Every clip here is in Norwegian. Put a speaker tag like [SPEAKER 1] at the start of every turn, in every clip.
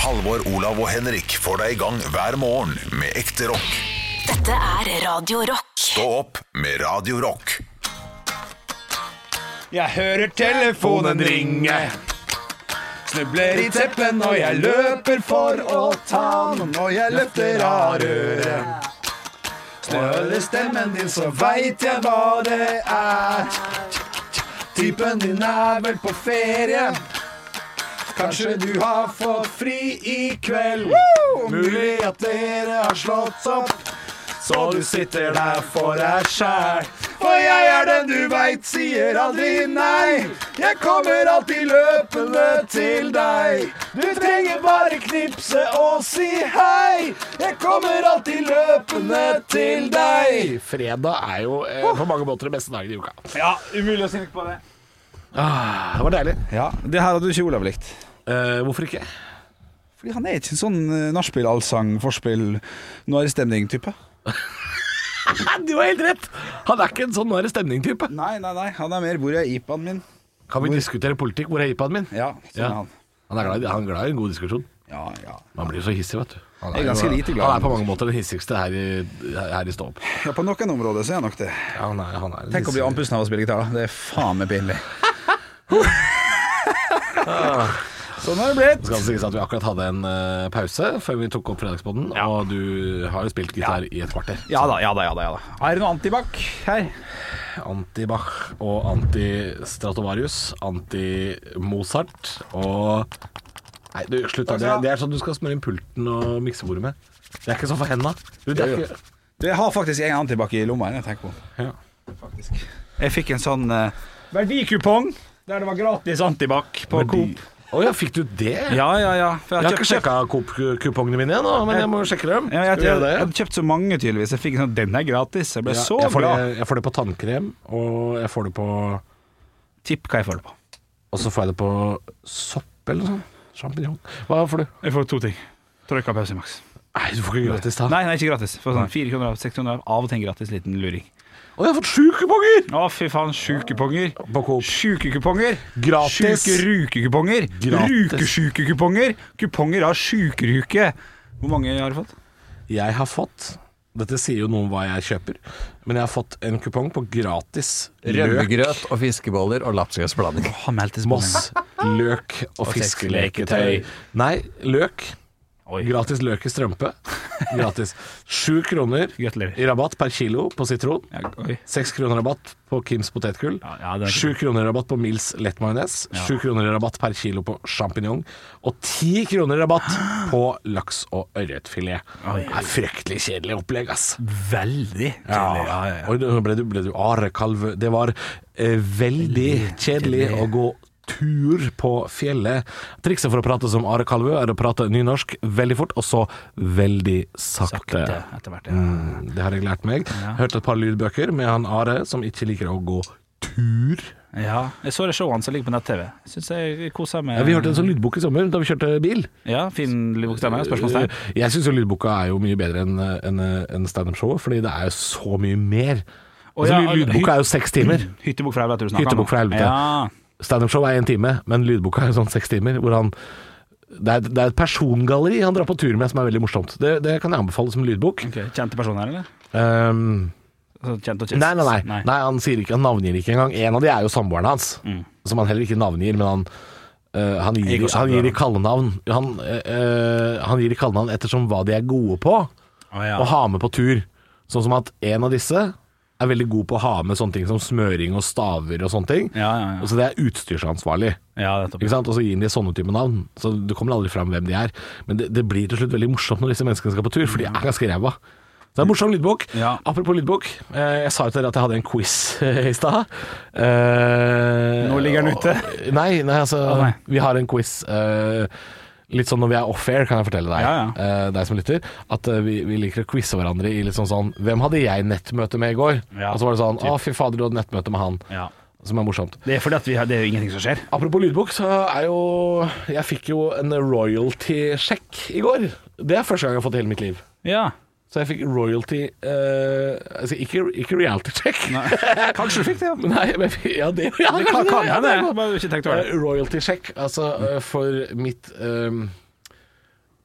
[SPEAKER 1] Halvor, Olav og Henrik får deg i gang hver morgen med ekte rock.
[SPEAKER 2] Dette er Radio Rock.
[SPEAKER 1] Stå opp med Radio Rock.
[SPEAKER 3] Jeg hører telefonen ringe. Snubler i teppen, og jeg løper for å ta den. Og jeg løfter av røret. Snøler stemmen din, så veit jeg hva det er. Typen din er vel på ferie. Kanskje du har fått fri i kveld. Mulig at dere har slått opp. Så du sitter der for deg sjæl. For jeg er den du veit sier aldri nei. Jeg kommer alltid løpende til deg. Du trenger bare knipse og si hei. Jeg kommer alltid løpende til deg.
[SPEAKER 4] Fredag er jo eh, på mange måter den beste dagen i uka.
[SPEAKER 3] Ja, umulig å si på det.
[SPEAKER 4] Ah, Det var deilig.
[SPEAKER 5] Ja, Det her hadde ikke Olav likt.
[SPEAKER 4] Eh, hvorfor ikke?
[SPEAKER 5] Fordi han er ikke en sånn eh, nachspiel, allsang, forspill, nå er det stemning-type.
[SPEAKER 4] Du har helt rett! Han er ikke en sånn nå er det stemning-type.
[SPEAKER 5] Nei, nei, nei. Han er mer 'hvor er IPA-en min'?
[SPEAKER 4] Kan vi diskutere politikk? Hvor er iPaden min?
[SPEAKER 5] Ja, sånn
[SPEAKER 4] Ja.
[SPEAKER 5] er han.
[SPEAKER 4] Han er glad i, han er glad i en god diskusjon.
[SPEAKER 5] Ja, ja.
[SPEAKER 4] Man blir jo så hissig, vet du. Han
[SPEAKER 5] Jeg er
[SPEAKER 4] jo-
[SPEAKER 5] ganske lite glad.
[SPEAKER 4] Han er på mange måter den hissigste her i, her i Stå opp.
[SPEAKER 5] ja på noen områder så er han nok det.
[SPEAKER 4] Ja, han er, han er
[SPEAKER 5] Tenk å bli andpusten av å spille gitar. Det er faen meg pinlig. sånn har det
[SPEAKER 4] Det
[SPEAKER 5] blitt.
[SPEAKER 4] skal sies at vi akkurat hadde en eh, pause før vi tok opp fredagsbåten, og du har jo spilt gitar i et kvarter.
[SPEAKER 5] Ja da, ja da, ja da. ja da Er det noe antibac her?
[SPEAKER 4] Anti-Bach og anti-Stratovarius, anti-Mozart og Nei, du, slutt
[SPEAKER 5] Altså-
[SPEAKER 4] da. Det, er- det er sånn du skal smøre inn pulten og miksebordet med. Det er ikke sånn for henda. Du, det er ikke
[SPEAKER 5] Du, Jeg har faktisk en antibac i lomma. Jeg tenker på
[SPEAKER 4] ja.
[SPEAKER 5] Jeg fikk en sånn eh, verdikupong der det var gratis antibac på
[SPEAKER 4] Verdi-
[SPEAKER 5] Coop.
[SPEAKER 4] Å ja, fikk du det?
[SPEAKER 5] Ja, ja, ja. For
[SPEAKER 4] Jeg har
[SPEAKER 5] kjøpt-
[SPEAKER 4] ikke sjekka Coop-kupongene mine ennå, men jeg må jo sjekke dem.
[SPEAKER 5] Ja, jeg,
[SPEAKER 4] Skal vi
[SPEAKER 5] jeg,
[SPEAKER 4] gjøre det?
[SPEAKER 5] jeg hadde kjøpt så mange, tydeligvis. Jeg fikk en sånn 'den er gratis'. Jeg ble
[SPEAKER 4] Ja,
[SPEAKER 5] så
[SPEAKER 4] jeg, får det,
[SPEAKER 5] glad.
[SPEAKER 4] jeg får det på tannkrem, og jeg får det på
[SPEAKER 5] Tipp hva jeg får det på.
[SPEAKER 4] Og så får jeg det på sopp eller noe sånt. Sjampinjong. Hva får du?
[SPEAKER 5] Jeg får to ting. Trøyka pause maks.
[SPEAKER 4] Nei, du får ikke gratis, da.
[SPEAKER 5] Nei, nei, ikke gratis. For sånn 4 kroner av, 6 kroner av, av og til en gratis liten luring.
[SPEAKER 4] Og jeg har fått sju kuponger!
[SPEAKER 5] Å, fy faen. Sjukekuponger.
[SPEAKER 4] På Coop.
[SPEAKER 5] Sjukekuponger.
[SPEAKER 4] Gratis.
[SPEAKER 5] Sjukerukekuponger.
[SPEAKER 4] Gratis.
[SPEAKER 5] Rukesjukekuponger. Kuponger av sjukeruke. Hvor mange har du fått?
[SPEAKER 4] Jeg har fått Dette sier jo noe om hva jeg kjøper, men jeg har fått en kupong på gratis løk,
[SPEAKER 6] Rømmegrøt og fiskeboller og lapskausblanding.
[SPEAKER 5] Han meldte
[SPEAKER 4] moss, løk og fiskeleketøy. Nei, løk. Gratis løk i strømpe. Gratis. Sju kroner
[SPEAKER 5] Gratulerer.
[SPEAKER 4] i rabatt per kilo på sitron.
[SPEAKER 5] Ja, oi.
[SPEAKER 4] Seks kroner rabatt på Kims potetgull.
[SPEAKER 5] Ja, ja, det er
[SPEAKER 4] Sju kroner rabatt på Mills lett majones. Sju kroner rabatt per kilo på sjampinjong. Og ti kroner rabatt på laks og ørretfilet. Det er fryktelig kjedelig opplegg, ass.
[SPEAKER 5] Veldig.
[SPEAKER 4] Ja. Oi, nå ble du, ble du arekalv. Det var eh, veldig kjedelig å gå tur på fjellet. Trikset for å prate som arekalve er å prate nynorsk veldig fort, og så veldig sakte.
[SPEAKER 5] Etter hvert, ja.
[SPEAKER 4] Mm, det har jeg lært meg. Hørt et par lydbøker med han Are som ikke liker å gå tur.
[SPEAKER 5] ja. Jeg så det showet som ligger på nett-TV. Syns jeg kosa meg.
[SPEAKER 4] Ja, vi hørte en sånn lydbok i sommer da vi kjørte bil.
[SPEAKER 5] Ja, fin bokstemme? Spørsmålstegn.
[SPEAKER 4] Eh, Jeg syns jo lydboka er jo mye bedre enn enn- enn standup-showet, fordi det er jo så mye mer.
[SPEAKER 5] Å,
[SPEAKER 4] Altså,
[SPEAKER 5] ja,
[SPEAKER 4] lyd- lydboka er jo seks timer.
[SPEAKER 5] Hyttebok fra helvete du snakker om.
[SPEAKER 4] Hyttebok fra helvete.
[SPEAKER 5] Ja.
[SPEAKER 4] Standup-show er én time, men lydboka er jo sånn seks timer. Hvor han det er, det er et persongalleri han drar på tur med som er veldig morsomt. Det, det kan jeg anbefale som lydbok.
[SPEAKER 5] Ok, Kjente personer, eller?
[SPEAKER 4] Um,
[SPEAKER 5] Altså, Kjent og kjent.
[SPEAKER 4] nei, nei, nei, nei. han sier ikke Han navngir ikke engang. En av de er jo samboeren hans,
[SPEAKER 5] Mm.
[SPEAKER 4] som han heller ikke navngir, men han eh, han, gir,
[SPEAKER 5] Igor
[SPEAKER 4] han gir
[SPEAKER 5] Sandberg.
[SPEAKER 4] de kallenavn han, eh, eh, han gir de kallenavn ettersom hva de er gode på,
[SPEAKER 5] Å, ja.
[SPEAKER 4] og har med på tur. Sånn som at en av disse er veldig god på å ha med sånne ting som smøring og staver og sånne ting.
[SPEAKER 5] Ja, ja, ja.
[SPEAKER 4] Og så det er utstyrsansvarlig.
[SPEAKER 5] ja nettopp.
[SPEAKER 4] Ikke sant? Og så gir de sånne type navn. Så du kommer aldri fram hvem de er. Men det, det blir til slutt veldig morsomt når disse menneskene skal på tur, for de er ganske ræva. Så det er en morsom lydbok.
[SPEAKER 5] Ja.
[SPEAKER 4] Apropos lydbok, eh, jeg sa jo til dere at jeg hadde en quiz i stad. Eh,
[SPEAKER 5] Nå ligger den ute.
[SPEAKER 4] og- Nei, nei altså
[SPEAKER 5] Å, nei.
[SPEAKER 4] Vi har en quiz. Eh, Litt sånn når vi er off-air, kan jeg fortelle deg,
[SPEAKER 5] Ja,
[SPEAKER 4] Eh, deg som lytter, at eh, vi, vi liker å quize hverandre i litt sånn sånn Hvem hadde jeg nettmøte med i går?
[SPEAKER 5] Ja,
[SPEAKER 4] og så var det sånn Å, fy fader, du hadde nettmøte med han.
[SPEAKER 5] Ja.
[SPEAKER 4] Som er morsomt.
[SPEAKER 5] Det er fordi at vi har, det er jo ingenting som skjer.
[SPEAKER 4] Apropos lydbok, så er jo Jeg fikk jo en royalty-sjekk i går. Det er første gang jeg har fått i hele mitt liv.
[SPEAKER 5] Ja.
[SPEAKER 4] Så jeg fikk royalty eh, Altså ikke, ikke reality-sjekk.
[SPEAKER 5] Kanskje du fikk det, ja.
[SPEAKER 4] Nei, men jeg fikk- ja, det ja,
[SPEAKER 5] Det
[SPEAKER 4] kanskje
[SPEAKER 5] kan, kan
[SPEAKER 4] ja,
[SPEAKER 5] jeg det. Bare ikke tenkt over det.
[SPEAKER 4] Eh, Royalty-sjekk, altså eh, for mitt eh,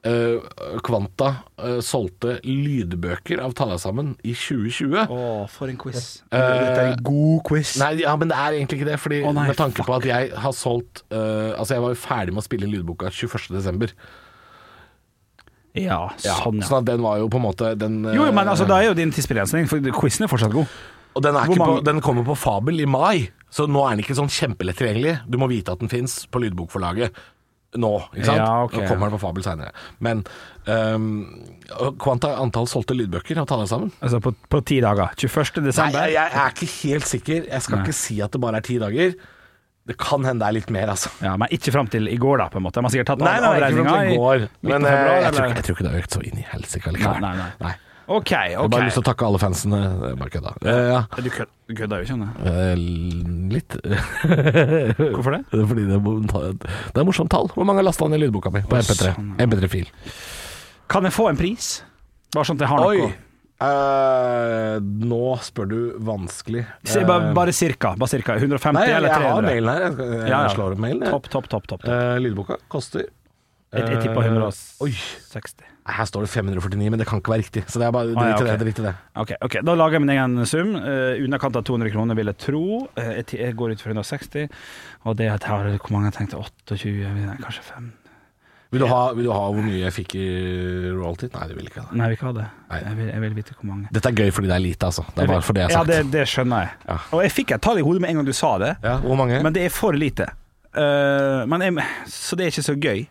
[SPEAKER 4] eh, Kvanta eh, solgte lydbøker av Tala sammen i 2020.
[SPEAKER 5] Å, for en quiz.
[SPEAKER 4] Eh,
[SPEAKER 3] Dette er en god quiz.
[SPEAKER 4] Nei, ja, men det er egentlig ikke det. Fordi
[SPEAKER 5] Å, nei,
[SPEAKER 4] Med tanke
[SPEAKER 5] fuck.
[SPEAKER 4] på at jeg har solgt eh, Altså, jeg var jo ferdig med å spille inn lydboka 21.12.
[SPEAKER 5] Ja,
[SPEAKER 4] Ja,
[SPEAKER 5] sånn, ja.
[SPEAKER 4] Sånn at den var jo på en måte den, eh,
[SPEAKER 5] Jo, jo, men altså, da er jo din tidsbegrensning, for quizen er fortsatt god.
[SPEAKER 4] Og den, er
[SPEAKER 5] Hvor
[SPEAKER 4] ikke på,
[SPEAKER 5] mange-
[SPEAKER 4] den kommer på Fabel i mai, så nå er den ikke sånn kjempelett tilgjengelig. Du må vite at den fins på lydbokforlaget nå. ikke sant?
[SPEAKER 5] Ja, ok,
[SPEAKER 4] nå kommer den på Fabel seinere. Men ehm, og Kvanta antall solgte lydbøker og ta det sammen?
[SPEAKER 5] Altså på, på ti dager. 21.
[SPEAKER 4] Nei,
[SPEAKER 5] desember.
[SPEAKER 4] jeg, jeg er ikke helt sikker. Jeg skal
[SPEAKER 5] Nei.
[SPEAKER 4] ikke si at det bare er ti dager. Det kan hende det er litt mer, altså.
[SPEAKER 5] Ja, men ikke fram til i går, da, på en måte. Man har sikkert tatt
[SPEAKER 4] Nei,
[SPEAKER 5] av-
[SPEAKER 4] nei, nei, ikke
[SPEAKER 5] avregninga
[SPEAKER 4] sant, det går.
[SPEAKER 5] i midten
[SPEAKER 4] Men
[SPEAKER 5] av
[SPEAKER 4] eh,
[SPEAKER 5] februar,
[SPEAKER 4] jeg, tror,
[SPEAKER 5] eller?
[SPEAKER 4] ikke- jeg tror ikke det har økt så inn i helsike likevel.
[SPEAKER 5] Nei, nei, nei.
[SPEAKER 4] Nei.
[SPEAKER 5] OK,
[SPEAKER 4] Jeg har bare
[SPEAKER 5] OK.
[SPEAKER 4] lyst til å takke alle fansene. Det er Bare kødda. Eh, ja.
[SPEAKER 5] Du kød- du kødder jo ikke med det.
[SPEAKER 4] Eh, litt.
[SPEAKER 5] Hvorfor det?
[SPEAKER 4] Det er Fordi det er, mo- det er morsomt tall. Hvor mange har lasta ned lydboka mi på MP3?
[SPEAKER 5] sånn,
[SPEAKER 4] MP3-fil.
[SPEAKER 5] Kan jeg få en pris? Bare sånn at jeg har noe.
[SPEAKER 4] Eh, nå spør du vanskelig.
[SPEAKER 5] Si, bare, bare cirka. Bare cirka. 150
[SPEAKER 4] Eh. Nei, jeg,
[SPEAKER 5] eller
[SPEAKER 4] jeg
[SPEAKER 5] 300?
[SPEAKER 4] har mailen her. Jeg, skal- jeg
[SPEAKER 5] Ja, ja.
[SPEAKER 4] slår opp mailen. jeg.
[SPEAKER 5] Topp, topp, topp. topp.
[SPEAKER 4] Eh, lydboka koster
[SPEAKER 5] Jeg, jeg tipper
[SPEAKER 4] eh,
[SPEAKER 5] 160.
[SPEAKER 4] Her står det 549, men det kan ikke være riktig. Så det er bare drit i
[SPEAKER 5] Ah, ja,
[SPEAKER 4] det.
[SPEAKER 5] ok.
[SPEAKER 4] Drit i det.
[SPEAKER 5] Ok, ok, Da lager jeg min egen sum. Uh, underkant av 200 kroner, vil jeg tro. Eh, jeg, ti- jeg går ut for 160. Og det at her, hvor mange jeg tenkte 28, nei, kanskje 5
[SPEAKER 4] Vil, du ha, vil du ha hvor mye jeg fikk i royalty? Nei, det vil ikke ha det.
[SPEAKER 5] Nei, vi ikke ha det.
[SPEAKER 4] Nei.
[SPEAKER 5] Jeg vil, jeg vil vite hvor mange.
[SPEAKER 4] Dette er gøy fordi det er lite, altså. Det er bare fordi jeg
[SPEAKER 5] ja,
[SPEAKER 4] har sagt
[SPEAKER 5] det, det skjønner jeg.
[SPEAKER 4] Ja.
[SPEAKER 5] Og jeg fikk et tall i hodet med en gang du sa det,
[SPEAKER 4] Ja, hvor mange?
[SPEAKER 5] men det er for lite. Eh, men jeg, så det er ikke så gøy.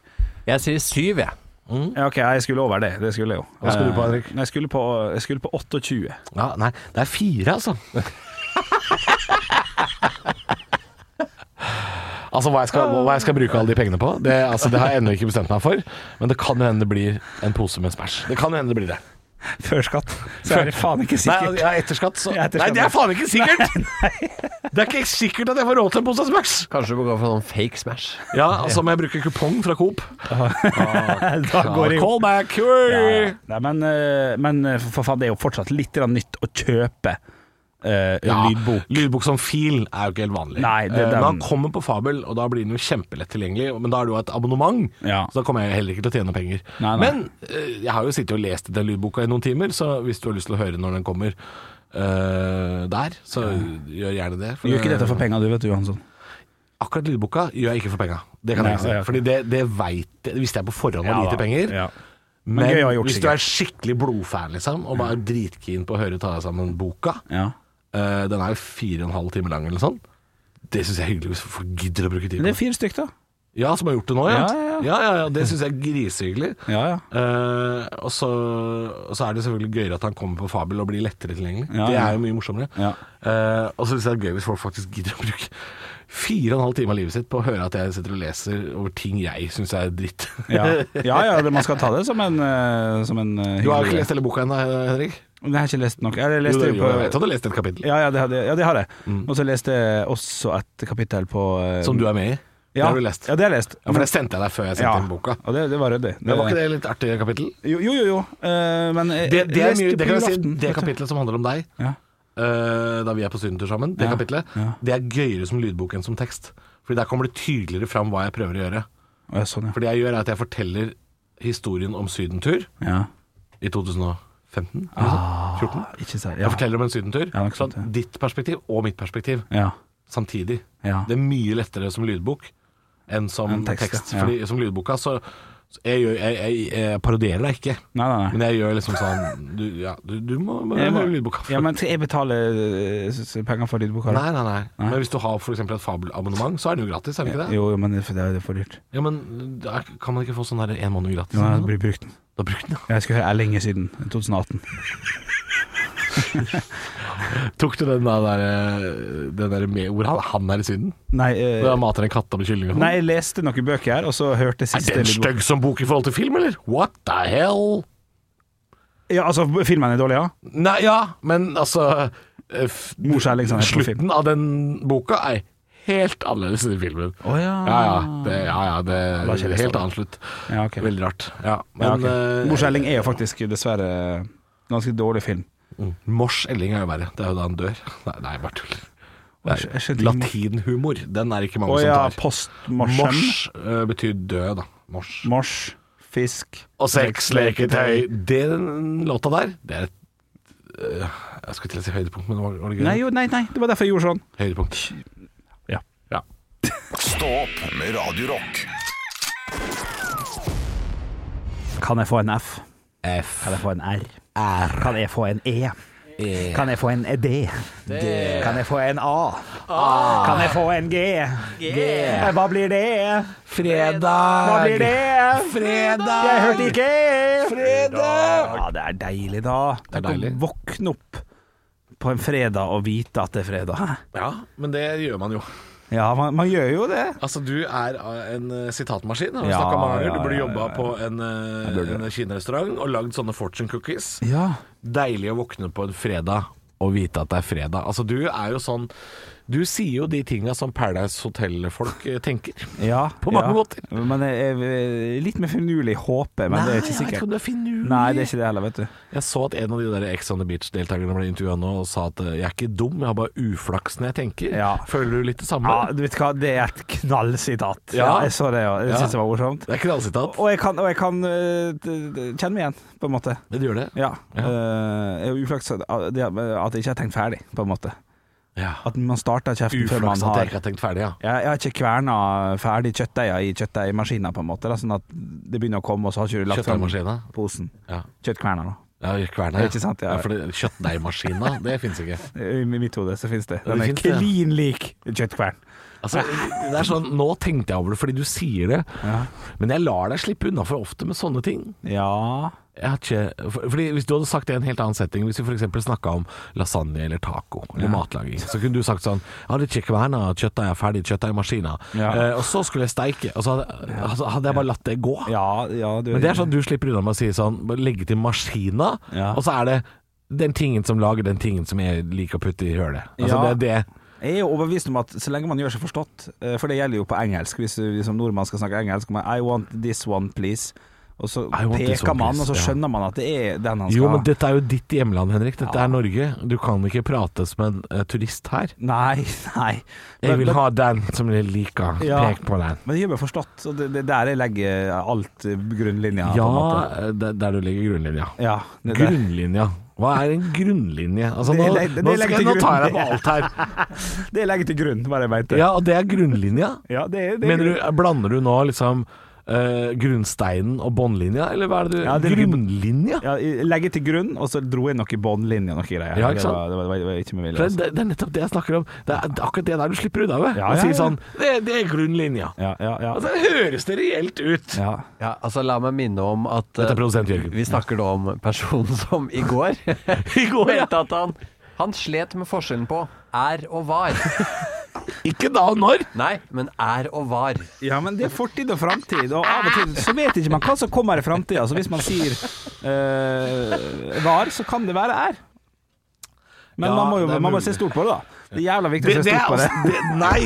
[SPEAKER 6] Jeg sier syv, jeg.
[SPEAKER 4] Mm.
[SPEAKER 5] Ja, OK, jeg skulle over det. Det skulle jeg jo.
[SPEAKER 4] Hva skulle du på,
[SPEAKER 5] Eh,
[SPEAKER 4] Henrik?
[SPEAKER 5] nei, Jeg skulle på, jeg skulle på 28.
[SPEAKER 4] Ja, nei, det er fire, altså. altså hva jeg, skal, hva jeg skal bruke alle de pengene på, det, altså, det har jeg ennå ikke bestemt meg for. Men det kan jo hende det blir en pose med Smash. Det kan jo hende det blir det.
[SPEAKER 5] Før skatt. Så er det faen ikke
[SPEAKER 4] Nei,
[SPEAKER 5] sikkert.
[SPEAKER 4] ja, etter skatt, så
[SPEAKER 5] Ja, etter
[SPEAKER 4] Nei,
[SPEAKER 5] skatt.
[SPEAKER 4] det er faen ikke sikkert! Det er ikke sikkert at jeg får råd til en pose Smash.
[SPEAKER 6] Kanskje du må gå for sånn fake Smash.
[SPEAKER 4] Ja, altså må jeg bruke kupong fra Coop.
[SPEAKER 5] da går det jo.
[SPEAKER 4] Callback!
[SPEAKER 5] Ja,
[SPEAKER 4] Hui!
[SPEAKER 5] Nei, men, eh, men eh, for faen, det er jo fortsatt litt grann nytt å kjøpe eh,
[SPEAKER 4] Ja,
[SPEAKER 5] lydbok.
[SPEAKER 4] Lydbok som fil er jo ikke helt vanlig.
[SPEAKER 5] Nei, det-
[SPEAKER 4] Eh,
[SPEAKER 5] den-
[SPEAKER 4] Men han kommer på Fabel, og da blir den jo kjempelett tilgjengelig. Men da er det jo et abonnement,
[SPEAKER 5] Ja.
[SPEAKER 4] så da kommer jeg heller ikke til å tjene penger.
[SPEAKER 5] Nei, nei.
[SPEAKER 4] Men eh, jeg har jo sittet og lest den lydboka i noen timer, så hvis du har lyst til å høre når den kommer eh, der, så gjør gjerne det. for
[SPEAKER 5] Gjør ikke dette for penger, du vet du, Johansson.
[SPEAKER 4] Akkurat lydboka gjør jeg ikke for penga. Det kan
[SPEAKER 5] Nei,
[SPEAKER 4] jeg ikke si.
[SPEAKER 5] ja, ok.
[SPEAKER 4] Fordi det, det veit jeg, visste jeg på forhånd var
[SPEAKER 5] Ja,
[SPEAKER 4] lite
[SPEAKER 5] da.
[SPEAKER 4] penger.
[SPEAKER 5] Ja.
[SPEAKER 4] Men,
[SPEAKER 5] gøy å ha gjort,
[SPEAKER 4] hvis du er skikkelig blodfan, liksom, og
[SPEAKER 5] Mm.
[SPEAKER 4] bare er dritkeen på å høre Ta deg sammen-boka,
[SPEAKER 5] Ja.
[SPEAKER 4] Eh, den er jo fire og en halv time lang eller sånn. Det syns jeg er hyggelig hvis folk gidder å bruke tid
[SPEAKER 5] Men det er
[SPEAKER 4] på det.
[SPEAKER 5] fire stykk, da.
[SPEAKER 4] Ja, som har gjort det nå, ja.
[SPEAKER 5] Ja, ja, ja.
[SPEAKER 4] ja, ja, det syns jeg er grisehyggelig.
[SPEAKER 5] Ja, ja.
[SPEAKER 4] Eh, og, så, og så er det selvfølgelig gøyere at han kommer på Fabel og blir lettere tilgjengelig.
[SPEAKER 5] Ja,
[SPEAKER 4] det
[SPEAKER 5] ja.
[SPEAKER 4] er jo mye morsommere.
[SPEAKER 5] Ja.
[SPEAKER 4] Eh, og så syns jeg det er gøy hvis folk faktisk gidder å bruke fire og en halv time av livet sitt på å høre at jeg sitter og leser over ting jeg syns er dritt.
[SPEAKER 5] Ja, ja, ja det, man skal ta det som en, eh, som en eh,
[SPEAKER 4] Du har
[SPEAKER 5] hyggelig
[SPEAKER 4] ikke
[SPEAKER 5] greie.
[SPEAKER 4] lest hele boka ennå, Henrik?
[SPEAKER 5] Nei, Jeg har ikke lest nok. Jeg
[SPEAKER 4] Jo,
[SPEAKER 5] leste
[SPEAKER 4] det-
[SPEAKER 5] jo
[SPEAKER 4] jo,
[SPEAKER 5] på
[SPEAKER 4] jeg vet at du har lest et kapittel
[SPEAKER 5] ja, ja, det har, ja, det har jeg. Og så leste jeg også et kapittel på eh,
[SPEAKER 4] som du er med i. Det
[SPEAKER 5] ja,
[SPEAKER 4] har du lest.
[SPEAKER 5] Ja, det har jeg lest.
[SPEAKER 4] Ja, for det sendte jeg deg før jeg sendte
[SPEAKER 5] Ja,
[SPEAKER 4] inn boka.
[SPEAKER 5] Og det, det var ryddig.
[SPEAKER 4] Men var ikke det litt artig kapittel?
[SPEAKER 5] Jo, jo, jo. jo. Eh, men jeg-
[SPEAKER 4] Eh, det, det,
[SPEAKER 5] jeg
[SPEAKER 4] er
[SPEAKER 5] leste
[SPEAKER 4] mye, det,
[SPEAKER 5] på
[SPEAKER 4] kan jeg si,
[SPEAKER 5] julaften,
[SPEAKER 4] det
[SPEAKER 5] vet du.
[SPEAKER 4] kapitlet som handler om deg,
[SPEAKER 5] Ja.
[SPEAKER 4] eh, da vi er på sydentur sammen, det
[SPEAKER 5] Ja,
[SPEAKER 4] kapitlet,
[SPEAKER 5] ja.
[SPEAKER 4] det er gøyere som lydbok enn som tekst. Fordi der kommer det tydeligere fram hva jeg prøver å gjøre.
[SPEAKER 5] Å, Ja, sånn, ja.
[SPEAKER 4] For det jeg gjør, er at jeg forteller historien om sydentur
[SPEAKER 5] ja.
[SPEAKER 4] i 2015. Ah, 14.
[SPEAKER 5] Ikke sant.
[SPEAKER 4] Jeg
[SPEAKER 5] Ja.
[SPEAKER 4] forteller om en sydentur.
[SPEAKER 5] Ja, nok
[SPEAKER 4] sånn
[SPEAKER 5] sant, ja.
[SPEAKER 4] ditt perspektiv og mitt perspektiv
[SPEAKER 5] Ja.
[SPEAKER 4] samtidig.
[SPEAKER 5] Ja.
[SPEAKER 4] Det er mye lettere som lydbok enn som
[SPEAKER 5] Enn tekst,
[SPEAKER 4] tekst.
[SPEAKER 5] ja.
[SPEAKER 4] Fordi som lydboka så så jeg, gjør, jeg, jeg, jeg parodierer deg ikke,
[SPEAKER 5] Nei, nei, nei.
[SPEAKER 4] men jeg gjør liksom sånn Du, ja, du, du må, må
[SPEAKER 5] Jeg må-
[SPEAKER 4] høre lydboka.
[SPEAKER 5] Ja, men jeg betaler eh, s- s- penger for lydboka.
[SPEAKER 4] Nei, nei, nei. Men hvis du har for eksempel et fabelabonnement, så er den jo gratis, er den ikke det?
[SPEAKER 5] Jo, jo, men det er for- det er for dyrt.
[SPEAKER 4] Ja, men da kan man ikke få sånn der en måned gratis?
[SPEAKER 5] Nå har jeg
[SPEAKER 4] eller noe?
[SPEAKER 5] blitt brukt den.
[SPEAKER 4] Da brukte den,
[SPEAKER 5] Jeg skulle høre Erling i Syden, 2018.
[SPEAKER 4] ja. Tok du den da der, eh, den der med hvor han, han er i Syden?
[SPEAKER 5] Nei,
[SPEAKER 4] Hvor han
[SPEAKER 5] eh,
[SPEAKER 4] mater en katt med kylling og sånn?
[SPEAKER 5] nei, jeg leste noen bøker her, og så hørte jeg
[SPEAKER 4] Er
[SPEAKER 5] siste
[SPEAKER 4] den
[SPEAKER 5] lydbok.
[SPEAKER 4] stygg som bok i forhold til film, eller? What the hell?
[SPEAKER 5] Ja, altså, filmen er dårlig, ja?
[SPEAKER 4] Nei, ja, men altså eh, f-
[SPEAKER 5] Mors Erlingsson heter på film.
[SPEAKER 4] Slutten av den boka er helt annerledes enn i filmen.
[SPEAKER 5] Å ja.
[SPEAKER 4] Ja ja, det, ja, ja, det
[SPEAKER 5] da kjenner jeg
[SPEAKER 4] helt
[SPEAKER 5] sånn.
[SPEAKER 4] annen slutt.
[SPEAKER 5] Ja, ok.
[SPEAKER 4] Veldig rart. Ja,
[SPEAKER 5] Ja,
[SPEAKER 4] men eh,
[SPEAKER 5] ok. Mors Erling er jo faktisk dessverre ganske dårlig film.
[SPEAKER 4] Mm. Mors Elling er jo verre. Det er jo da han dør. Nei, nei bare tull.
[SPEAKER 5] Jeg skj- jeg skjønte ikke-
[SPEAKER 4] Latinhumor, den er ikke mange
[SPEAKER 5] Å ja,
[SPEAKER 4] som tar.
[SPEAKER 5] postmarsjen.
[SPEAKER 4] Mors eh, betyr død, da. Mors.
[SPEAKER 5] Mars. fisk
[SPEAKER 4] og seks leketøy. Den låta der, det er et øh, Jeg skulle til å si høydepunkt, men var var det gøy?
[SPEAKER 5] Nei, jo, nei, nei, det var derfor jeg gjorde sånn.
[SPEAKER 4] Høydepunkt.
[SPEAKER 5] Ja.
[SPEAKER 4] Ja.
[SPEAKER 1] Stå opp med Radio Rock.
[SPEAKER 5] Kan jeg få en F?
[SPEAKER 4] F.
[SPEAKER 5] Kan jeg få en R? Kan jeg få en E? Kan jeg få en D? Kan jeg få en A? Kan jeg få en G? Nei, Hva blir det?
[SPEAKER 4] Fredag.
[SPEAKER 5] Hva blir det?
[SPEAKER 4] Eh, Fredag.
[SPEAKER 5] Jeg hørte ikke! E.
[SPEAKER 4] Fredag.
[SPEAKER 5] Ja, det er deilig, da.
[SPEAKER 4] er
[SPEAKER 5] Tenk å
[SPEAKER 4] deilig.
[SPEAKER 5] våkne opp på en fredag og vite at det er fredag. Hæ?
[SPEAKER 4] Ja, men det gjør man jo.
[SPEAKER 5] Ja, man, man gjør jo det.
[SPEAKER 4] Altså, du er eh, en eh, sitatmaskin. Har vi
[SPEAKER 5] Ja,
[SPEAKER 4] snakket mange ganger.
[SPEAKER 5] ja,
[SPEAKER 4] Du burde
[SPEAKER 5] ja,
[SPEAKER 4] jobba
[SPEAKER 5] ja, ja.
[SPEAKER 4] på en, eh,
[SPEAKER 5] burde
[SPEAKER 4] en kinarestaurant og lagd sånne fortune cookies.
[SPEAKER 5] Ja.
[SPEAKER 4] Deilig å våkne på en fredag og vite at det er fredag. Altså, du er jo sånn Du sier jo de tinga som Paradise Hotel-folk eh, tenker.
[SPEAKER 5] ja
[SPEAKER 4] På mange
[SPEAKER 5] ja.
[SPEAKER 4] måter.
[SPEAKER 5] Men jeg, jeg, litt mer finurlig håper, men det er ikke
[SPEAKER 4] jeg vet ikke om
[SPEAKER 5] sikkert.
[SPEAKER 4] du er finurlig.
[SPEAKER 5] Nei, det er ikke det heller, vet du.
[SPEAKER 4] Jeg så at en av de der Ex on the Beach-deltakerne ble intervjua nå og sa at eh, jeg er ikke dum, jeg har bare uflaks når jeg tenker.
[SPEAKER 5] Ja.
[SPEAKER 4] Føler du litt det samme?
[SPEAKER 5] Ja, du vet hva, det er et knallsitat. Ja,
[SPEAKER 4] Ja.
[SPEAKER 5] jeg så det, ja. Jeg
[SPEAKER 4] Ja.
[SPEAKER 5] synes det var morsomt.
[SPEAKER 4] Det er knallsitat.
[SPEAKER 5] Og jeg kan, og jeg kan øh, d- d- kjenne meg igjen, på en måte.
[SPEAKER 4] Det gjør det.
[SPEAKER 5] Ja. Øh, jeg er uflaks at at jeg ikke har tenkt ferdig, på en måte.
[SPEAKER 4] Ja.
[SPEAKER 5] At man starter kjeften før man
[SPEAKER 4] Uflaks at jeg
[SPEAKER 5] har
[SPEAKER 4] ikke har tenkt ferdig, ja.
[SPEAKER 5] jeg, jeg har ikke kverna ferdig kjøttdeiga i kjøttdeigmaskina, på en måte. Da, sånn at det begynner å komme, og så har ikke du lagt fram
[SPEAKER 4] Kjøttdeigmaskina?
[SPEAKER 5] posen.
[SPEAKER 4] Ja.
[SPEAKER 5] Kjøttkverna, da.
[SPEAKER 4] Ja, kverna, ja.
[SPEAKER 5] Ikke sant, ja.
[SPEAKER 4] ja for det- Kjøttdeigmaskina, det fins ikke.
[SPEAKER 5] I mitt hode så finnes det. Den
[SPEAKER 4] det
[SPEAKER 5] er
[SPEAKER 4] finnes det, ja.
[SPEAKER 5] klin lik kjøttkvern.
[SPEAKER 4] Altså, det er sånn, Nå tenkte jeg over det fordi du sier det, men jeg lar deg slippe unna for ofte med sånne ting.
[SPEAKER 5] Ja
[SPEAKER 4] Jeg har ikke, for- fordi Hvis du hadde sagt det i en helt annen setting, hvis vi f.eks. snakka om lasagne eller taco eller matlaging, så kunne du sagt sånn Ja, det er ikke kverna, kjøttdeig er ferdig, kjøttdeigmaskina.
[SPEAKER 5] Ja.
[SPEAKER 4] Eh, og så skulle jeg steike, og så hadde, altså, hadde jeg bare latt det gå.
[SPEAKER 5] Ja, ja du,
[SPEAKER 4] Men det er sånn du slipper unna med å si sånn bare Legge til maskina,
[SPEAKER 5] Ja.
[SPEAKER 4] og så er det den tingen som lager den tingen som jeg liker å putte i hølet. Altså,
[SPEAKER 5] Ja.
[SPEAKER 4] Det er det.
[SPEAKER 5] Jeg er jo overbevist om at så lenge man gjør seg forstått eh, For det gjelder jo på engelsk Hvis du som nordmann skal snakke engelsk man, I want this one please Og så
[SPEAKER 4] I want this
[SPEAKER 5] peker
[SPEAKER 4] one,
[SPEAKER 5] man
[SPEAKER 4] please,
[SPEAKER 5] Og så
[SPEAKER 4] ja.
[SPEAKER 5] skjønner man at det er den han skal
[SPEAKER 4] Jo, men dette er jo ditt hjemland, Henrik. Dette er Norge. Du kan ikke prate som en eh, turist her.
[SPEAKER 5] Nei, nei
[SPEAKER 4] Jeg
[SPEAKER 5] Men-
[SPEAKER 4] vil
[SPEAKER 5] men-
[SPEAKER 4] ha den som jeg liker.
[SPEAKER 5] Ja.
[SPEAKER 4] Pek på den.
[SPEAKER 5] Men det gjør meg forstått Og det, det er der jeg legger alt eh, grunnlinja på
[SPEAKER 4] Ja,
[SPEAKER 5] en måte.
[SPEAKER 4] eh, der der du legger grunnlinja.
[SPEAKER 5] ja det, det.
[SPEAKER 4] Grunnlinja. Hva er en grunnlinje? Altså, nå,
[SPEAKER 5] Det legger- det
[SPEAKER 4] nå,
[SPEAKER 5] legger
[SPEAKER 4] skal,
[SPEAKER 5] til
[SPEAKER 4] nå tar
[SPEAKER 5] grunn.
[SPEAKER 4] jeg på alt her.
[SPEAKER 5] det legger til grunn, hva jeg mente
[SPEAKER 4] Ja, og det er grunnlinja.
[SPEAKER 5] Ja, det, det,
[SPEAKER 4] Mener du, blander du nå liksom eh, grunnsteinen og båndlinja, eller hva er det du
[SPEAKER 5] Ja, det ligger-
[SPEAKER 4] Grunnlinja?
[SPEAKER 5] ja, jeg legger til grunn, og så dro jeg noe i båndlinja noe greier.
[SPEAKER 4] Ja, ikke
[SPEAKER 5] Det
[SPEAKER 4] sant?
[SPEAKER 5] var, det var, det var ikke med vilje. altså.
[SPEAKER 4] For Det, det er nettopp det jeg snakker om. Det er det er akkurat det der du slipper unna med.
[SPEAKER 5] Ja,
[SPEAKER 4] Å
[SPEAKER 5] ja,
[SPEAKER 4] si
[SPEAKER 5] ja.
[SPEAKER 4] sånn det, det er grunnlinja.
[SPEAKER 5] altså. Ja, ja, ja.
[SPEAKER 4] Altså, høres det reelt ut?
[SPEAKER 5] ja.
[SPEAKER 6] Ja, altså La meg minne om at
[SPEAKER 4] Dette
[SPEAKER 6] eh,
[SPEAKER 4] er produsent Jørgen.
[SPEAKER 6] vi snakker da om personen som i går
[SPEAKER 4] I går, ja.
[SPEAKER 6] meldte at han, han slet med forskjellen på er og var.
[SPEAKER 4] Ikke da og når.
[SPEAKER 6] Nei, men er og var.
[SPEAKER 5] Ja, men det er fortid og framtid, og av og til så vet ikke man hva som kommer i framtida. Så hvis man sier eh, var, så kan det være er. Men
[SPEAKER 4] Ja,
[SPEAKER 5] man må jo
[SPEAKER 4] det er
[SPEAKER 5] man må
[SPEAKER 4] mulig.
[SPEAKER 5] se stort på det, da. Det er jævla viktig
[SPEAKER 4] Det,
[SPEAKER 5] å se
[SPEAKER 4] det er
[SPEAKER 5] stort på det.
[SPEAKER 4] altså- det, nei,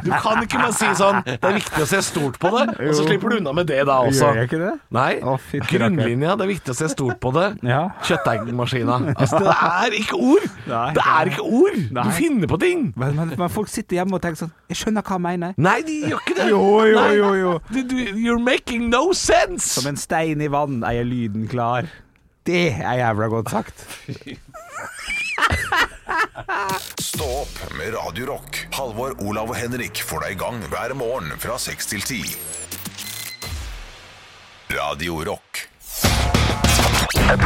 [SPEAKER 4] du kan ikke bare si sånn Det er viktig å se stort på det, og så slipper du unna med det da også.
[SPEAKER 5] Gjør jeg ikke det?
[SPEAKER 4] Nei.
[SPEAKER 5] Å, fytti rakker.
[SPEAKER 4] Grunnlinja, det er viktig å se stort på det.
[SPEAKER 5] Ja.
[SPEAKER 4] Kjøttdeigmaskina. Altså, det er ikke ord!
[SPEAKER 5] Nei.
[SPEAKER 4] Det er ikke ord! Du
[SPEAKER 5] Nei.
[SPEAKER 4] finner på ting!
[SPEAKER 5] Men, men, men folk sitter hjemme og tenker sånn Jeg skjønner hva han mener.
[SPEAKER 4] Nei, de gjør ikke det!
[SPEAKER 5] Jo, jo,
[SPEAKER 4] Nei.
[SPEAKER 5] jo, jo.
[SPEAKER 4] Du, du, you're making no sense!
[SPEAKER 5] Som en stein i vann eier lyden klar. Det er jævla godt sagt.
[SPEAKER 1] Stå opp med Radio Rock. Halvor, Olav og Henrik får deg i gang hver morgen fra 6 til 10. Radio Rock.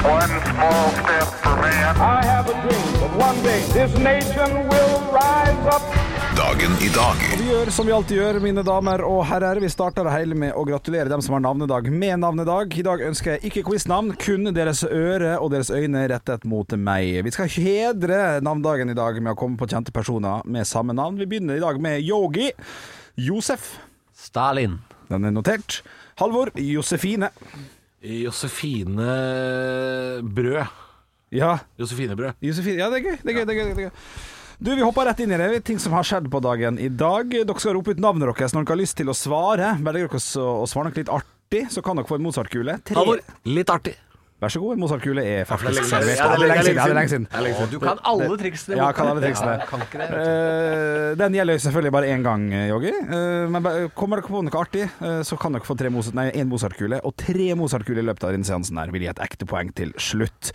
[SPEAKER 7] One small step for man.
[SPEAKER 8] I have a dream that one day this nation will rise up.
[SPEAKER 1] Dagen i dag.
[SPEAKER 5] Vi gjør som vi alltid gjør, mine damer og herrer. Vi starter det hele med å gratulere dem som har navnedag med navnedag. I dag ønsker jeg ikke quiznavn, kun deres øre og deres øyne rettet mot meg. Vi skal hedre navnedagen i dag med å komme på kjente personer med samme navn. Vi begynner i dag med Yogi. Josef.
[SPEAKER 6] Stalin.
[SPEAKER 5] Den er notert. Halvor. Josefine.
[SPEAKER 4] Josefine Brød.
[SPEAKER 5] Ja,
[SPEAKER 4] Josefine Brød.
[SPEAKER 5] Josefine. Ja, det er gøy. Det er gøy, det er gøy, det er gøy. Du, Vi hopper rett inn i det. Ting som har skjedd på dagen i dag. Dere skal rope ut navnet deres når dere har lyst til å svare. Velger dere å å svare noe litt artig, så kan dere få en Mozart-kule. Tre-
[SPEAKER 4] Litt artig.
[SPEAKER 5] Vær så god, en Mozart-kule er faktisk
[SPEAKER 4] det er lenge
[SPEAKER 5] servert.
[SPEAKER 4] siden.
[SPEAKER 5] Ja, det er lenge siden. Ja, det er lenge siden.
[SPEAKER 6] Å, du kan alle triksene.
[SPEAKER 5] Ja,
[SPEAKER 6] Morten.
[SPEAKER 5] jeg kan alle triksene.
[SPEAKER 6] Ja, kan ikke det, vet du.
[SPEAKER 5] Eh, den gjelder jo selvfølgelig bare én gang, eh, Yogi. Eh, men ba- kommer dere på noe artig, eh, så kan dere få tre Mozart, nei, én Mozart-kule og tre Mozart-kuler i løpet av denne seansen. her vil gi et ekte poeng til slutt.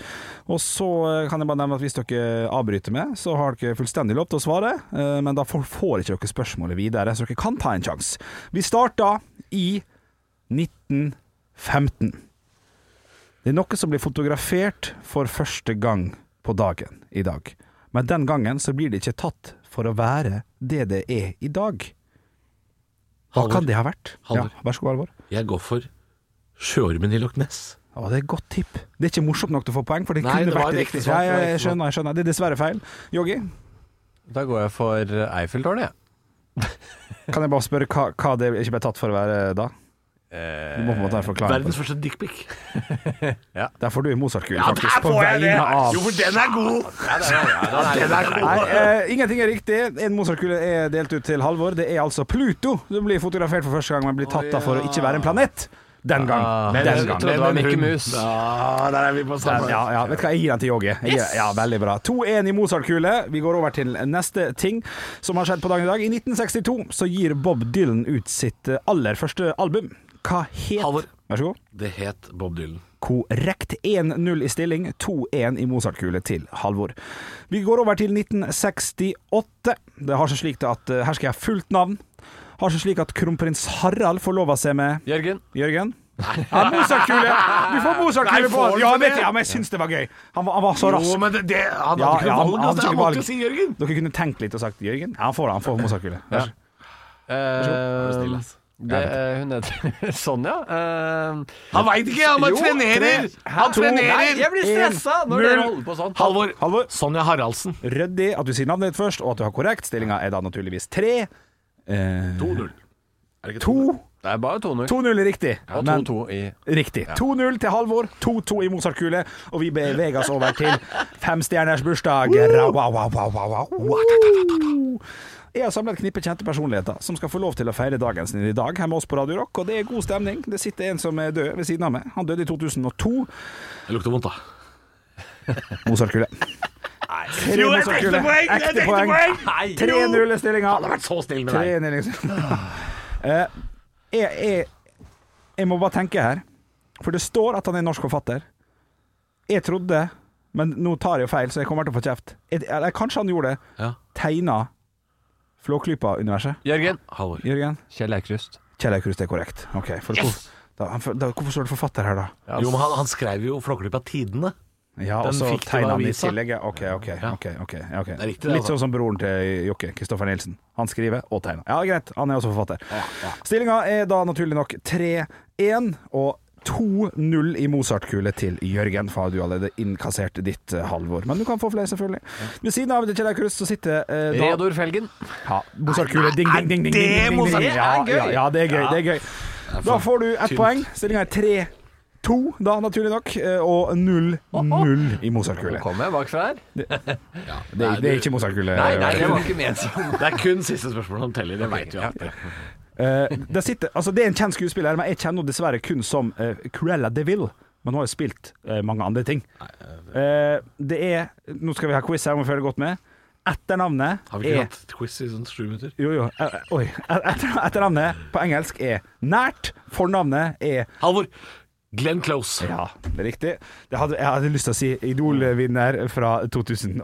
[SPEAKER 5] Og så eh, kan jeg bare nevne at hvis dere avbryter meg, så har dere fullstendig lov til å svare, eh, men da får, får ikke dere spørsmålet videre, så dere kan ta en sjanse. Vi starta i 1915. Det er noe som blir fotografert for første gang på dagen i dag. Men den gangen så blir det ikke tatt for å være det det er i dag. Hva
[SPEAKER 4] Halvor.
[SPEAKER 5] kan det ha vært?
[SPEAKER 4] Halvor.
[SPEAKER 5] Ja, vær så god, Halvor.
[SPEAKER 4] Jeg går for sjøormen i Loch Ness.
[SPEAKER 5] Å, det er et godt tipp. Det er ikke morsomt nok til å få poeng, for det
[SPEAKER 4] Nei,
[SPEAKER 5] kunne
[SPEAKER 4] det var
[SPEAKER 5] vært
[SPEAKER 4] et
[SPEAKER 5] riktig.
[SPEAKER 4] ekte
[SPEAKER 5] Ja,
[SPEAKER 4] svar.
[SPEAKER 5] ja, jeg skjønner, jeg skjønner. Det er dessverre feil. Yogi,
[SPEAKER 6] Da går jeg for Eiffeltårnet, jeg.
[SPEAKER 5] kan jeg bare spørre hva, hva det ikke ble tatt for å være da? Du må på en måte forklare. på det.
[SPEAKER 4] Verdens første dickpic.
[SPEAKER 5] Der får du Mozart-kule,
[SPEAKER 4] Ja,
[SPEAKER 5] faktisk.
[SPEAKER 4] der
[SPEAKER 5] På
[SPEAKER 4] får jeg det!
[SPEAKER 5] vegne av
[SPEAKER 4] Jo, for den er god! Den er god.
[SPEAKER 5] Nei, eh, ingenting er riktig. En Mozart-kule er delt ut til Halvor. Det er altså Pluto som blir fotografert for første gang, men blir tatt av for å ikke være en planet. Den gang. Den
[SPEAKER 6] Jeg
[SPEAKER 5] gang.
[SPEAKER 6] trodde det var Mikke Mus.
[SPEAKER 4] Ja, der er vi på samme.
[SPEAKER 5] Ja, ja, vet du hva, jeg gir den til Yogi. Jeg gir- Ja, veldig bra. 2-1 i Mozart-kule. Vi går over til neste ting som har skjedd på dagen i dag. I 1962 så gir Bob Dylan ut sitt eh, aller første album. Hva het
[SPEAKER 4] Halvor.
[SPEAKER 5] Vær så god.
[SPEAKER 4] Det het Bob Dylan.
[SPEAKER 5] Korrekt. 1-0 i stilling, 2-1 i Mozart-kule til Halvor. Vi går over til 1968. Det har seg slik at eh, Her skal jeg ha fullt navn. Har seg slik at kronprins Harald forlova seg med
[SPEAKER 6] Jørgen.
[SPEAKER 5] Jørgen? Ja, Mozart-kule! Du får Mozart-kule
[SPEAKER 4] Nei,
[SPEAKER 5] på den!
[SPEAKER 4] får du
[SPEAKER 5] Ja,
[SPEAKER 4] det?
[SPEAKER 5] vet du, ja, men jeg syns det var gøy. Han var, han var så rask.
[SPEAKER 4] Jo, men det, det, han hadde
[SPEAKER 5] Ja,
[SPEAKER 4] ikke
[SPEAKER 5] ja,
[SPEAKER 4] noe
[SPEAKER 5] han-
[SPEAKER 4] valg.
[SPEAKER 5] han hadde
[SPEAKER 4] altså. Han
[SPEAKER 5] ikke
[SPEAKER 4] måtte
[SPEAKER 5] valg.
[SPEAKER 4] jo si Jørgen.
[SPEAKER 5] Dere kunne tenkt litt og sagt Jørgen. Ja, han får det. Han får Mozart-kule. Vær så god.
[SPEAKER 4] Vær så snill,
[SPEAKER 6] Eh,
[SPEAKER 4] ass.
[SPEAKER 6] det, eh, hun heter Sonja. Eh,
[SPEAKER 4] Han veit ikke! Han bare
[SPEAKER 6] jo,
[SPEAKER 4] trenerer!
[SPEAKER 6] tre- Hæ?
[SPEAKER 4] Han
[SPEAKER 6] To- Nei, jeg
[SPEAKER 4] trenerer!
[SPEAKER 6] blir stressa når dere holder på sånn.
[SPEAKER 4] Halvor.
[SPEAKER 5] Halvor.
[SPEAKER 4] Sonja Haraldsen.
[SPEAKER 5] Ryddig at du sier navnet ditt først, og at du har korrekt. Stillinga er da naturligvis tre. Eh,
[SPEAKER 4] 2-0. Er det ikke 2-0?
[SPEAKER 5] to.
[SPEAKER 6] Det er bare 2-0.
[SPEAKER 5] 2-0 er riktig.
[SPEAKER 6] Og
[SPEAKER 5] Men-
[SPEAKER 6] 2-2 i
[SPEAKER 5] Riktig. 2-0 til Halvor, 2-2 i Mozart-kule, og vi beveger oss over til femstjerners bursdag. Ra- wa- wa- wa- wa- wa- wa- ta- ta- ta- ta- ta. Jeg har samlet et knippe kjente personligheter som skal få lov til å feire dagen sin i dag her med oss på Radio Rock, og det er god stemning. Det sitter en som er død ved siden av meg. Han døde i 2002.
[SPEAKER 4] Det lukter vondt, da.
[SPEAKER 5] Mozart-kule. Tre
[SPEAKER 4] Jo, et
[SPEAKER 5] Mozart-kule.
[SPEAKER 4] ekte poeng, et ekte poeng. Nei, jo.
[SPEAKER 5] 3-0 er
[SPEAKER 4] Han har
[SPEAKER 5] stillinga.
[SPEAKER 4] vært så snill med deg.
[SPEAKER 5] 3-1 liksom. Eh, jeg, jeg, jeg må bare tenke her, for det står at han er norsk forfatter. Jeg trodde, men nå tar jeg jo feil, så jeg kommer til å få kjeft. Jeg, eller kanskje han gjorde det.
[SPEAKER 4] Ja.
[SPEAKER 5] Tegna Flåklypa-universet.
[SPEAKER 6] Jørgen.
[SPEAKER 4] Halvor.
[SPEAKER 5] Jørgen?
[SPEAKER 6] Kjell Eikrust.
[SPEAKER 5] Kjell Eikrust er korrekt. Ok, for hvor, da, han- for- da, Hvorfor står det forfatter her, da?
[SPEAKER 6] Ja,
[SPEAKER 4] Jo, men han, han skrev jo Flåklypa Tidene.
[SPEAKER 5] Ja,
[SPEAKER 4] Den
[SPEAKER 5] og så
[SPEAKER 4] fiktive
[SPEAKER 5] tegna han i
[SPEAKER 4] avisa.
[SPEAKER 5] tillegg. ja. OK, OK. ok, ok, ok.
[SPEAKER 4] er riktig, det,
[SPEAKER 5] Litt
[SPEAKER 4] altså.
[SPEAKER 5] sånn som broren til Jokke, Kristoffer Nielsen. Han skriver og tegner. Ja, greit, han er også forfatter. Stillinga er da naturlig nok 3-1 og 2-0 i Mozart-kule til Jørgen, for du har allerede innkassert ditt eh, Halvor. Men du kan få flere, selvfølgelig. Ved siden av Kjell Eikrust så sitter eh, da-
[SPEAKER 6] Reodor Felgen.
[SPEAKER 5] ja, Mozartkule. Ding, ding, ding, ding, ding,
[SPEAKER 4] det
[SPEAKER 5] ding, ding, ding.
[SPEAKER 4] Mozart?
[SPEAKER 5] Ja,
[SPEAKER 6] Det er
[SPEAKER 5] ja,
[SPEAKER 6] gøy.
[SPEAKER 5] ja, det er gøy. Det er gøy. Da får du ett poeng. Stillinga er 3-2, da, naturlig nok. eh, Og 0-0 i
[SPEAKER 6] Nå
[SPEAKER 5] Mozartkule.
[SPEAKER 6] kom jeg bakfra her.
[SPEAKER 5] Det, er- det er ikke Mozartkule.
[SPEAKER 6] Nei, nei, det var ikke ment sånn.
[SPEAKER 4] Det er kun siste spørsmål som teller, det veit vi. alltid.
[SPEAKER 5] Eh, det, sitter, altså, det er en kjent skuespiller, men jeg kjenner henne dessverre kun som eh, Cruella de Vil. Men hun har jo spilt eh, mange andre ting. Eh, det er Nå skal vi ha quiz her, må vi følge godt med. Etternavnet
[SPEAKER 4] Har vi ikke
[SPEAKER 5] er
[SPEAKER 4] hatt quiz i sånn sju minutter?
[SPEAKER 5] Jo, jo. eh, eh, Oi. Etter- Etternavnet på engelsk er nært. Fornavnet er
[SPEAKER 4] Halvor. Glenn Close.
[SPEAKER 5] Ja, det er riktig. Det hadde, jeg hadde lyst til å si Idol-vinner fra 2007.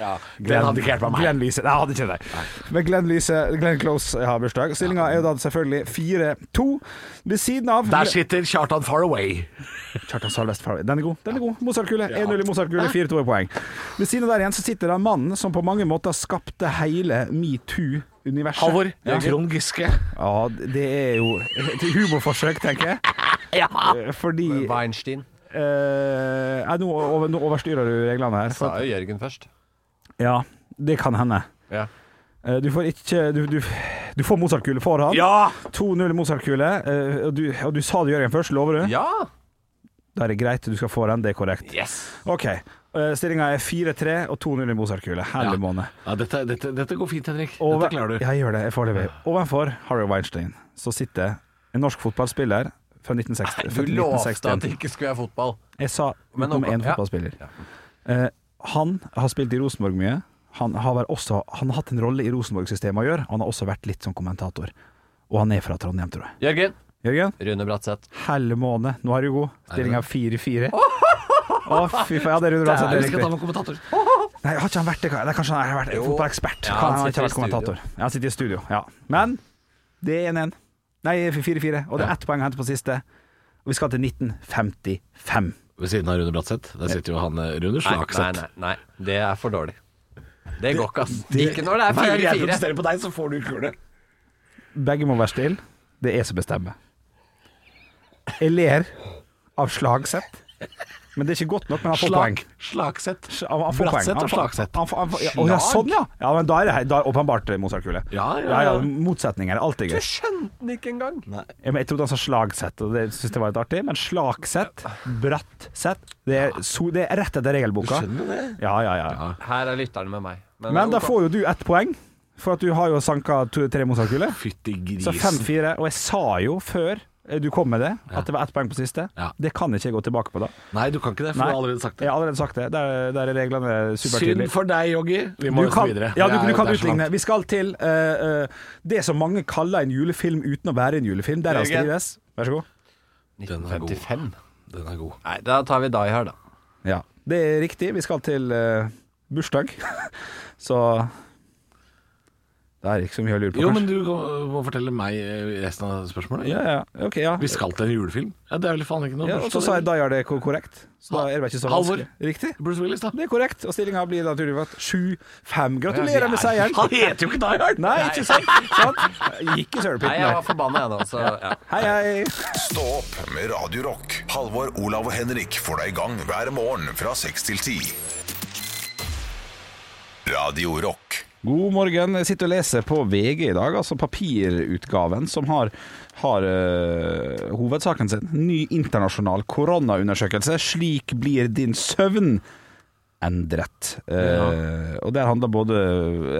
[SPEAKER 4] Ja, den hadde ikke hjulpet meg.
[SPEAKER 5] Glenn Lyse. Nei, jeg hadde ikke det. Men Glenn Lyse, Glenn Close har bursdag. Stillinga er jo da selvfølgelig 4-2. Ved siden av
[SPEAKER 4] Der sitter Kjartan Faraway.
[SPEAKER 5] Kjartan Salvest Farley. Den er god. den er god Mozartkule. 1-0 i Mozartkule, 4-2 i poeng. Ved siden av der igjen så sitter da mannen som på mange måter skapte hele metoo-universet.
[SPEAKER 4] Halvor.
[SPEAKER 5] Ja.
[SPEAKER 4] Trond Giske.
[SPEAKER 5] ja, det er jo et humorforsøk, tenker jeg. Eh, Fordi
[SPEAKER 6] Weinstein.
[SPEAKER 5] Eh, nei, nå, over, nå overstyrer du reglene her.
[SPEAKER 6] Sa
[SPEAKER 5] For,
[SPEAKER 6] jo Jørgen først.
[SPEAKER 5] ja, det kan hende.
[SPEAKER 6] Ja.
[SPEAKER 5] Eh, du får ikke Du, du, du får Mozart-kule foran.
[SPEAKER 4] Ja!
[SPEAKER 5] 2-0 Mozart-kule. Eh, og, du- og du sa det, Jørgen, først. Lover du?
[SPEAKER 6] Ja!
[SPEAKER 5] Da er det greit, du skal få den. Det er korrekt.
[SPEAKER 6] Yes!
[SPEAKER 5] OK. Uh, Stillinga er 4-3 og 2-0 i Mozart-kule. Herlig måned.
[SPEAKER 4] Ja, dette, dette, dette går fint, Henrik.
[SPEAKER 5] Over-
[SPEAKER 4] Dette klarer du.
[SPEAKER 5] Ja, jeg gjør det. Jeg får det ved. Ovenfor Harry Weinstein så sitter en norsk fotballspiller Fra 1960.
[SPEAKER 6] Du
[SPEAKER 5] født i
[SPEAKER 6] lovte at
[SPEAKER 5] 1961.
[SPEAKER 6] det ikke skulle være fotball.
[SPEAKER 5] Jeg sa
[SPEAKER 6] Men
[SPEAKER 5] om
[SPEAKER 6] ok,
[SPEAKER 5] én
[SPEAKER 6] ja.
[SPEAKER 5] fotballspiller. Eh, han har spilt i Rosenborg mye. Han har, vel også, han har hatt en rolle i Rosenborg-systemet å gjøre. Han har også vært litt som kommentator. Og han er fra Trondheim, tror jeg.
[SPEAKER 6] Jørgen.
[SPEAKER 5] Jørgen,
[SPEAKER 6] Rune Bratseth.
[SPEAKER 5] helle måne. Nå er du god. Stillinga 4-4. Å, fy faen. Ja, det er Rune Bratseth. det
[SPEAKER 6] Dæven, vi
[SPEAKER 5] husker
[SPEAKER 6] skal ta
[SPEAKER 5] jeg.
[SPEAKER 6] med kommentator.
[SPEAKER 5] Nei, har ikke han vært det? Nei, kanskje han har vært
[SPEAKER 6] Jo.
[SPEAKER 5] fotballekspert.
[SPEAKER 6] Ja,
[SPEAKER 5] Kan
[SPEAKER 6] han
[SPEAKER 5] han har ikke
[SPEAKER 6] sitter i
[SPEAKER 5] ha vært kommentator. Ja, han sitter i studio. Ja. Men det er 1-1. Nei, 4-4. Og det er ett poeng å hente på siste. Og vi skal til 1955.
[SPEAKER 4] Ved siden av Rune Bratseth. Der sitter jo han eh, Rune
[SPEAKER 6] Nei, nei,
[SPEAKER 4] Slagseth.
[SPEAKER 6] nei, nei. Det er for dårlig. Det går ikke, ass. Ikke når det er
[SPEAKER 4] Hver gang jeg
[SPEAKER 6] 4-4.
[SPEAKER 4] protesterer på deg, så får du kule.
[SPEAKER 5] Begge må være stille. Det er jeg som bestemmer. Jeg ler av slagsett. Men det er ikke godt nok, men han får poeng.
[SPEAKER 4] Slag, slagsett.
[SPEAKER 5] Han, han får poeng. Han
[SPEAKER 4] Bratseth og
[SPEAKER 5] får-
[SPEAKER 4] Slagseth.
[SPEAKER 5] han får- han får- ja, å, ja, sånn, ja. ja men da er det her- da er det åpenbart eh, Mozart-kule.
[SPEAKER 4] Ja, ja,
[SPEAKER 5] ja,
[SPEAKER 4] ja.
[SPEAKER 5] Motsetninger er alltid gøy.
[SPEAKER 6] Jeg skjønte den ikke engang.
[SPEAKER 5] Jeg, jeg trodde han sa slagsett, og det syntes jeg var litt artig. Men slagsett, brattsett, det er, so, det er rett etter regelboka. Ja, ja, ja.
[SPEAKER 6] Her er lytterne med meg.
[SPEAKER 5] Men da
[SPEAKER 6] ok.
[SPEAKER 5] får jo du ett poeng, for at du har jo sanka to- tre Mozart-kuler.
[SPEAKER 4] Fytti
[SPEAKER 5] Så
[SPEAKER 4] grisen.
[SPEAKER 5] 5-4. Og jeg sa jo før eh, du kom med det, at det var ett poeng på siste.
[SPEAKER 4] Ja.
[SPEAKER 5] Det kan ikke jeg gå tilbake på da.
[SPEAKER 4] Nei, du kan ikke det, for du har allerede sagt
[SPEAKER 5] Jeg
[SPEAKER 4] det.
[SPEAKER 5] har allerede sagt det. Der, der er reglene
[SPEAKER 4] Synd
[SPEAKER 5] supertydelige.
[SPEAKER 4] for deg, Joggi. Vi må
[SPEAKER 5] Du
[SPEAKER 4] jo
[SPEAKER 5] kan,
[SPEAKER 4] videre.
[SPEAKER 5] ja, du,
[SPEAKER 4] Det er
[SPEAKER 5] du
[SPEAKER 4] jo-
[SPEAKER 5] kan
[SPEAKER 4] det er sånn så
[SPEAKER 5] utligne.
[SPEAKER 4] langt.
[SPEAKER 5] Vi skal til eh, eh, det som mange kaller en julefilm uten å være en julefilm. Der han
[SPEAKER 6] Jørgen.
[SPEAKER 5] skrives. Vær så god.
[SPEAKER 4] Den er god.
[SPEAKER 6] 1955.
[SPEAKER 4] Den er god.
[SPEAKER 6] Nei, da tar vi Die Hard, da.
[SPEAKER 5] Ja. Det er riktig. Vi skal til eh, bursdag. Så Det er ikke så mye å lure på,
[SPEAKER 4] Jo, men
[SPEAKER 5] kanskje.
[SPEAKER 4] du må fortelle meg eh, resten av spørsmålet.
[SPEAKER 5] Ja, ja. Ok, ja.
[SPEAKER 4] Vi skal til en julefilm. Ja, Det er vel faen ikke noe
[SPEAKER 5] ja og så
[SPEAKER 4] bursdag,
[SPEAKER 5] sa jeg
[SPEAKER 4] det.
[SPEAKER 5] Die Hard er ko- korrekt. Så da er det vel ikke så
[SPEAKER 4] Halvor.
[SPEAKER 5] vanskelig. Riktig.
[SPEAKER 4] Bruce Willis, da.
[SPEAKER 5] Det er korrekt, og stillinga blir naturligvis 7-5. Gratulerer med seieren!
[SPEAKER 4] Han heter jo ikke Die Hard!
[SPEAKER 5] Nei, ikke sant? sant? Gikk i
[SPEAKER 6] Nei,
[SPEAKER 5] sølepytten
[SPEAKER 6] jeg
[SPEAKER 5] der.
[SPEAKER 6] var forbanna, jeg da. Så ja.
[SPEAKER 5] Hei, hei.
[SPEAKER 1] Stå opp med Radio Rock. Halvor, Olav og Henrik får deg i gang hver morgen fra 6 til 10. Radio Rock.
[SPEAKER 5] God morgen. Jeg sitter og leser på VG i dag, altså papirutgaven som har, har eh, hovedsaken sin. Ny internasjonal koronaundersøkelse. Slik blir din søvn endret. Eh, Og der handler både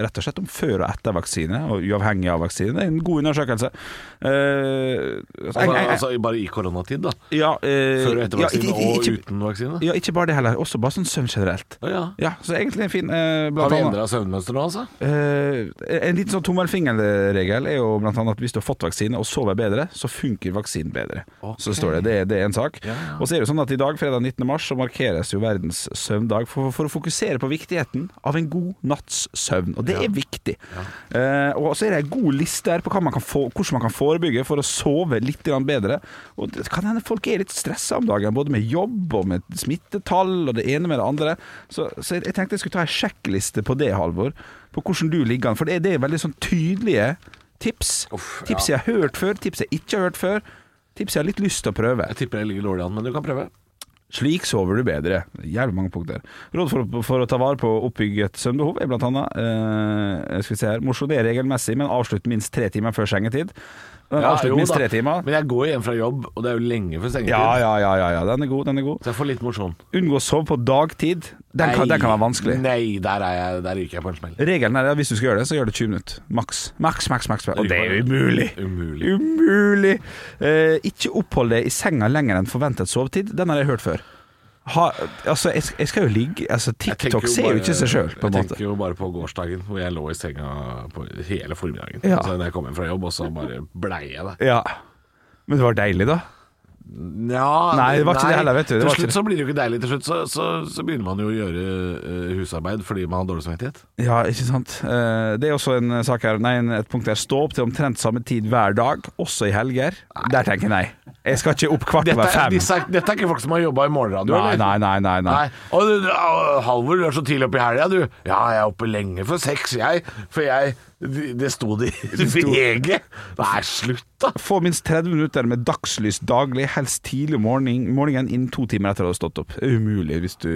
[SPEAKER 5] rett og slett om før og etter vaksine, og uavhengig av vaksine. Det er en god undersøkelse. Eh,
[SPEAKER 4] Altså, altså, bare i koronatid, da.
[SPEAKER 5] ja, eh,
[SPEAKER 4] Før og etter
[SPEAKER 5] ja,
[SPEAKER 4] vaksine,
[SPEAKER 5] ikke-
[SPEAKER 4] og
[SPEAKER 5] ikke-
[SPEAKER 4] uten vaksine.
[SPEAKER 5] Ja, ikke bare det heller. Også bare sånn søvn generelt.
[SPEAKER 4] Å ja.
[SPEAKER 5] Ja, så egentlig en fin eh,
[SPEAKER 4] Har
[SPEAKER 5] blant
[SPEAKER 4] vi
[SPEAKER 5] annet,
[SPEAKER 4] endra søvnmønster nå, altså?
[SPEAKER 5] eh, En liten sånn tommelfingerregel er jo blant annet at hvis du har fått vaksine og sover bedre, så funker vaksinen bedre. Så står det. Det, er- det er en sak. Og så er det jo sånn at i dag, fredag 19. mars, så markeres jo verdens søvndag for, for å fokusere på viktigheten av en god natts søvn. Og det er viktig. Eh, og så er det ei god liste her på hva man kan få, hvordan man kan forebygge for å sove litt grann bedre. Og det kan hende folk er litt stressa om dagen, både med jobb og med smittetall og det ene med det andre. Så, så jeg, jeg tenkte jeg skulle ta ei sjekkliste på det, Halvor. På hvordan du ligger an. For det, er- det er veldig sånn tydelige tips. tips jeg har hørt før, tips jeg ikke har hørt før. Tips jeg har litt lyst til å prøve.
[SPEAKER 4] Jeg tipper jeg ligger dårlig an, men du kan prøve.
[SPEAKER 5] Slik sover du bedre. Jævlig mange punkter. Råd for, for å ta vare på oppbygget søvnbehov er blant annet eh, Skal vi se her Mosjonere regelmessig, men avslutt minst tre timer før sengetid. Men avslutt
[SPEAKER 4] jo
[SPEAKER 5] minst
[SPEAKER 4] da.
[SPEAKER 5] tre timer.
[SPEAKER 4] Men jeg går hjem fra jobb, og det er jo lenge før sengetid.
[SPEAKER 5] Ja, ja, ja, ja, ja. Den er god. den er god
[SPEAKER 4] Så jeg får litt mosjon.
[SPEAKER 5] Unngå å sove på dagtid. Den kan,
[SPEAKER 4] Nei,
[SPEAKER 5] den kan være vanskelig.
[SPEAKER 4] Nei, der, er jeg, der ryker jeg på en smell.
[SPEAKER 5] Regelen er at hvis du skal gjøre det, så gjør det 20 minutter. Maks. Maks, maks, maks. Og det er jo umulig!
[SPEAKER 4] Umulig.
[SPEAKER 5] Umulig! Eh, ikke opphold deg i senga lenger enn forventet sovetid. Den har jeg hørt før. Ha, altså, jeg, jeg skal jo ligge altså,
[SPEAKER 4] Jeg tenker
[SPEAKER 5] TikTok ser jo ikke seg sjøl, på en
[SPEAKER 4] Jeg
[SPEAKER 5] måte.
[SPEAKER 4] tenker jo bare på gårsdagen, hvor jeg lå i senga på hele formiddagen.
[SPEAKER 5] Ja.
[SPEAKER 4] Så da jeg kom hjem fra jobb, og så bare blei jeg det.
[SPEAKER 5] Ja. Men det var deilig, da.
[SPEAKER 4] Ja,
[SPEAKER 5] Nei, det var ikke det heller, vet du. Det
[SPEAKER 4] Til
[SPEAKER 5] var ikke
[SPEAKER 4] slutt så blir det jo ikke deilig. Til slutt så, så, så begynner man jo å gjøre eh, husarbeid fordi man har dårlig samvittighet.
[SPEAKER 5] Ja, ikke sant. Eh, Det er også en sak her Nei, en- et punkt der. Stå opp til omtrent samme tid hver dag, også i helger. Der tenker jeg nei. Jeg skal ikke opp kvart
[SPEAKER 4] Dette
[SPEAKER 5] over
[SPEAKER 4] er,
[SPEAKER 5] fem.
[SPEAKER 4] disse, er- dette er ikke folk som har jobba i morgenradio,
[SPEAKER 5] Nei, nei, nei. nei, nei.
[SPEAKER 4] Nei. Og du, du- å, Halvor, du er så tidlig oppe i helga, du. Ja, jeg er oppe lenge for seks, jeg. For jeg Det det sto det i VG. Nei, slutt, da.
[SPEAKER 5] Få minst 30 minutter med dagslys daglig, helst tidlig om morgenen, morgenen innen to timer etter at du har stått opp. Det er Umulig hvis du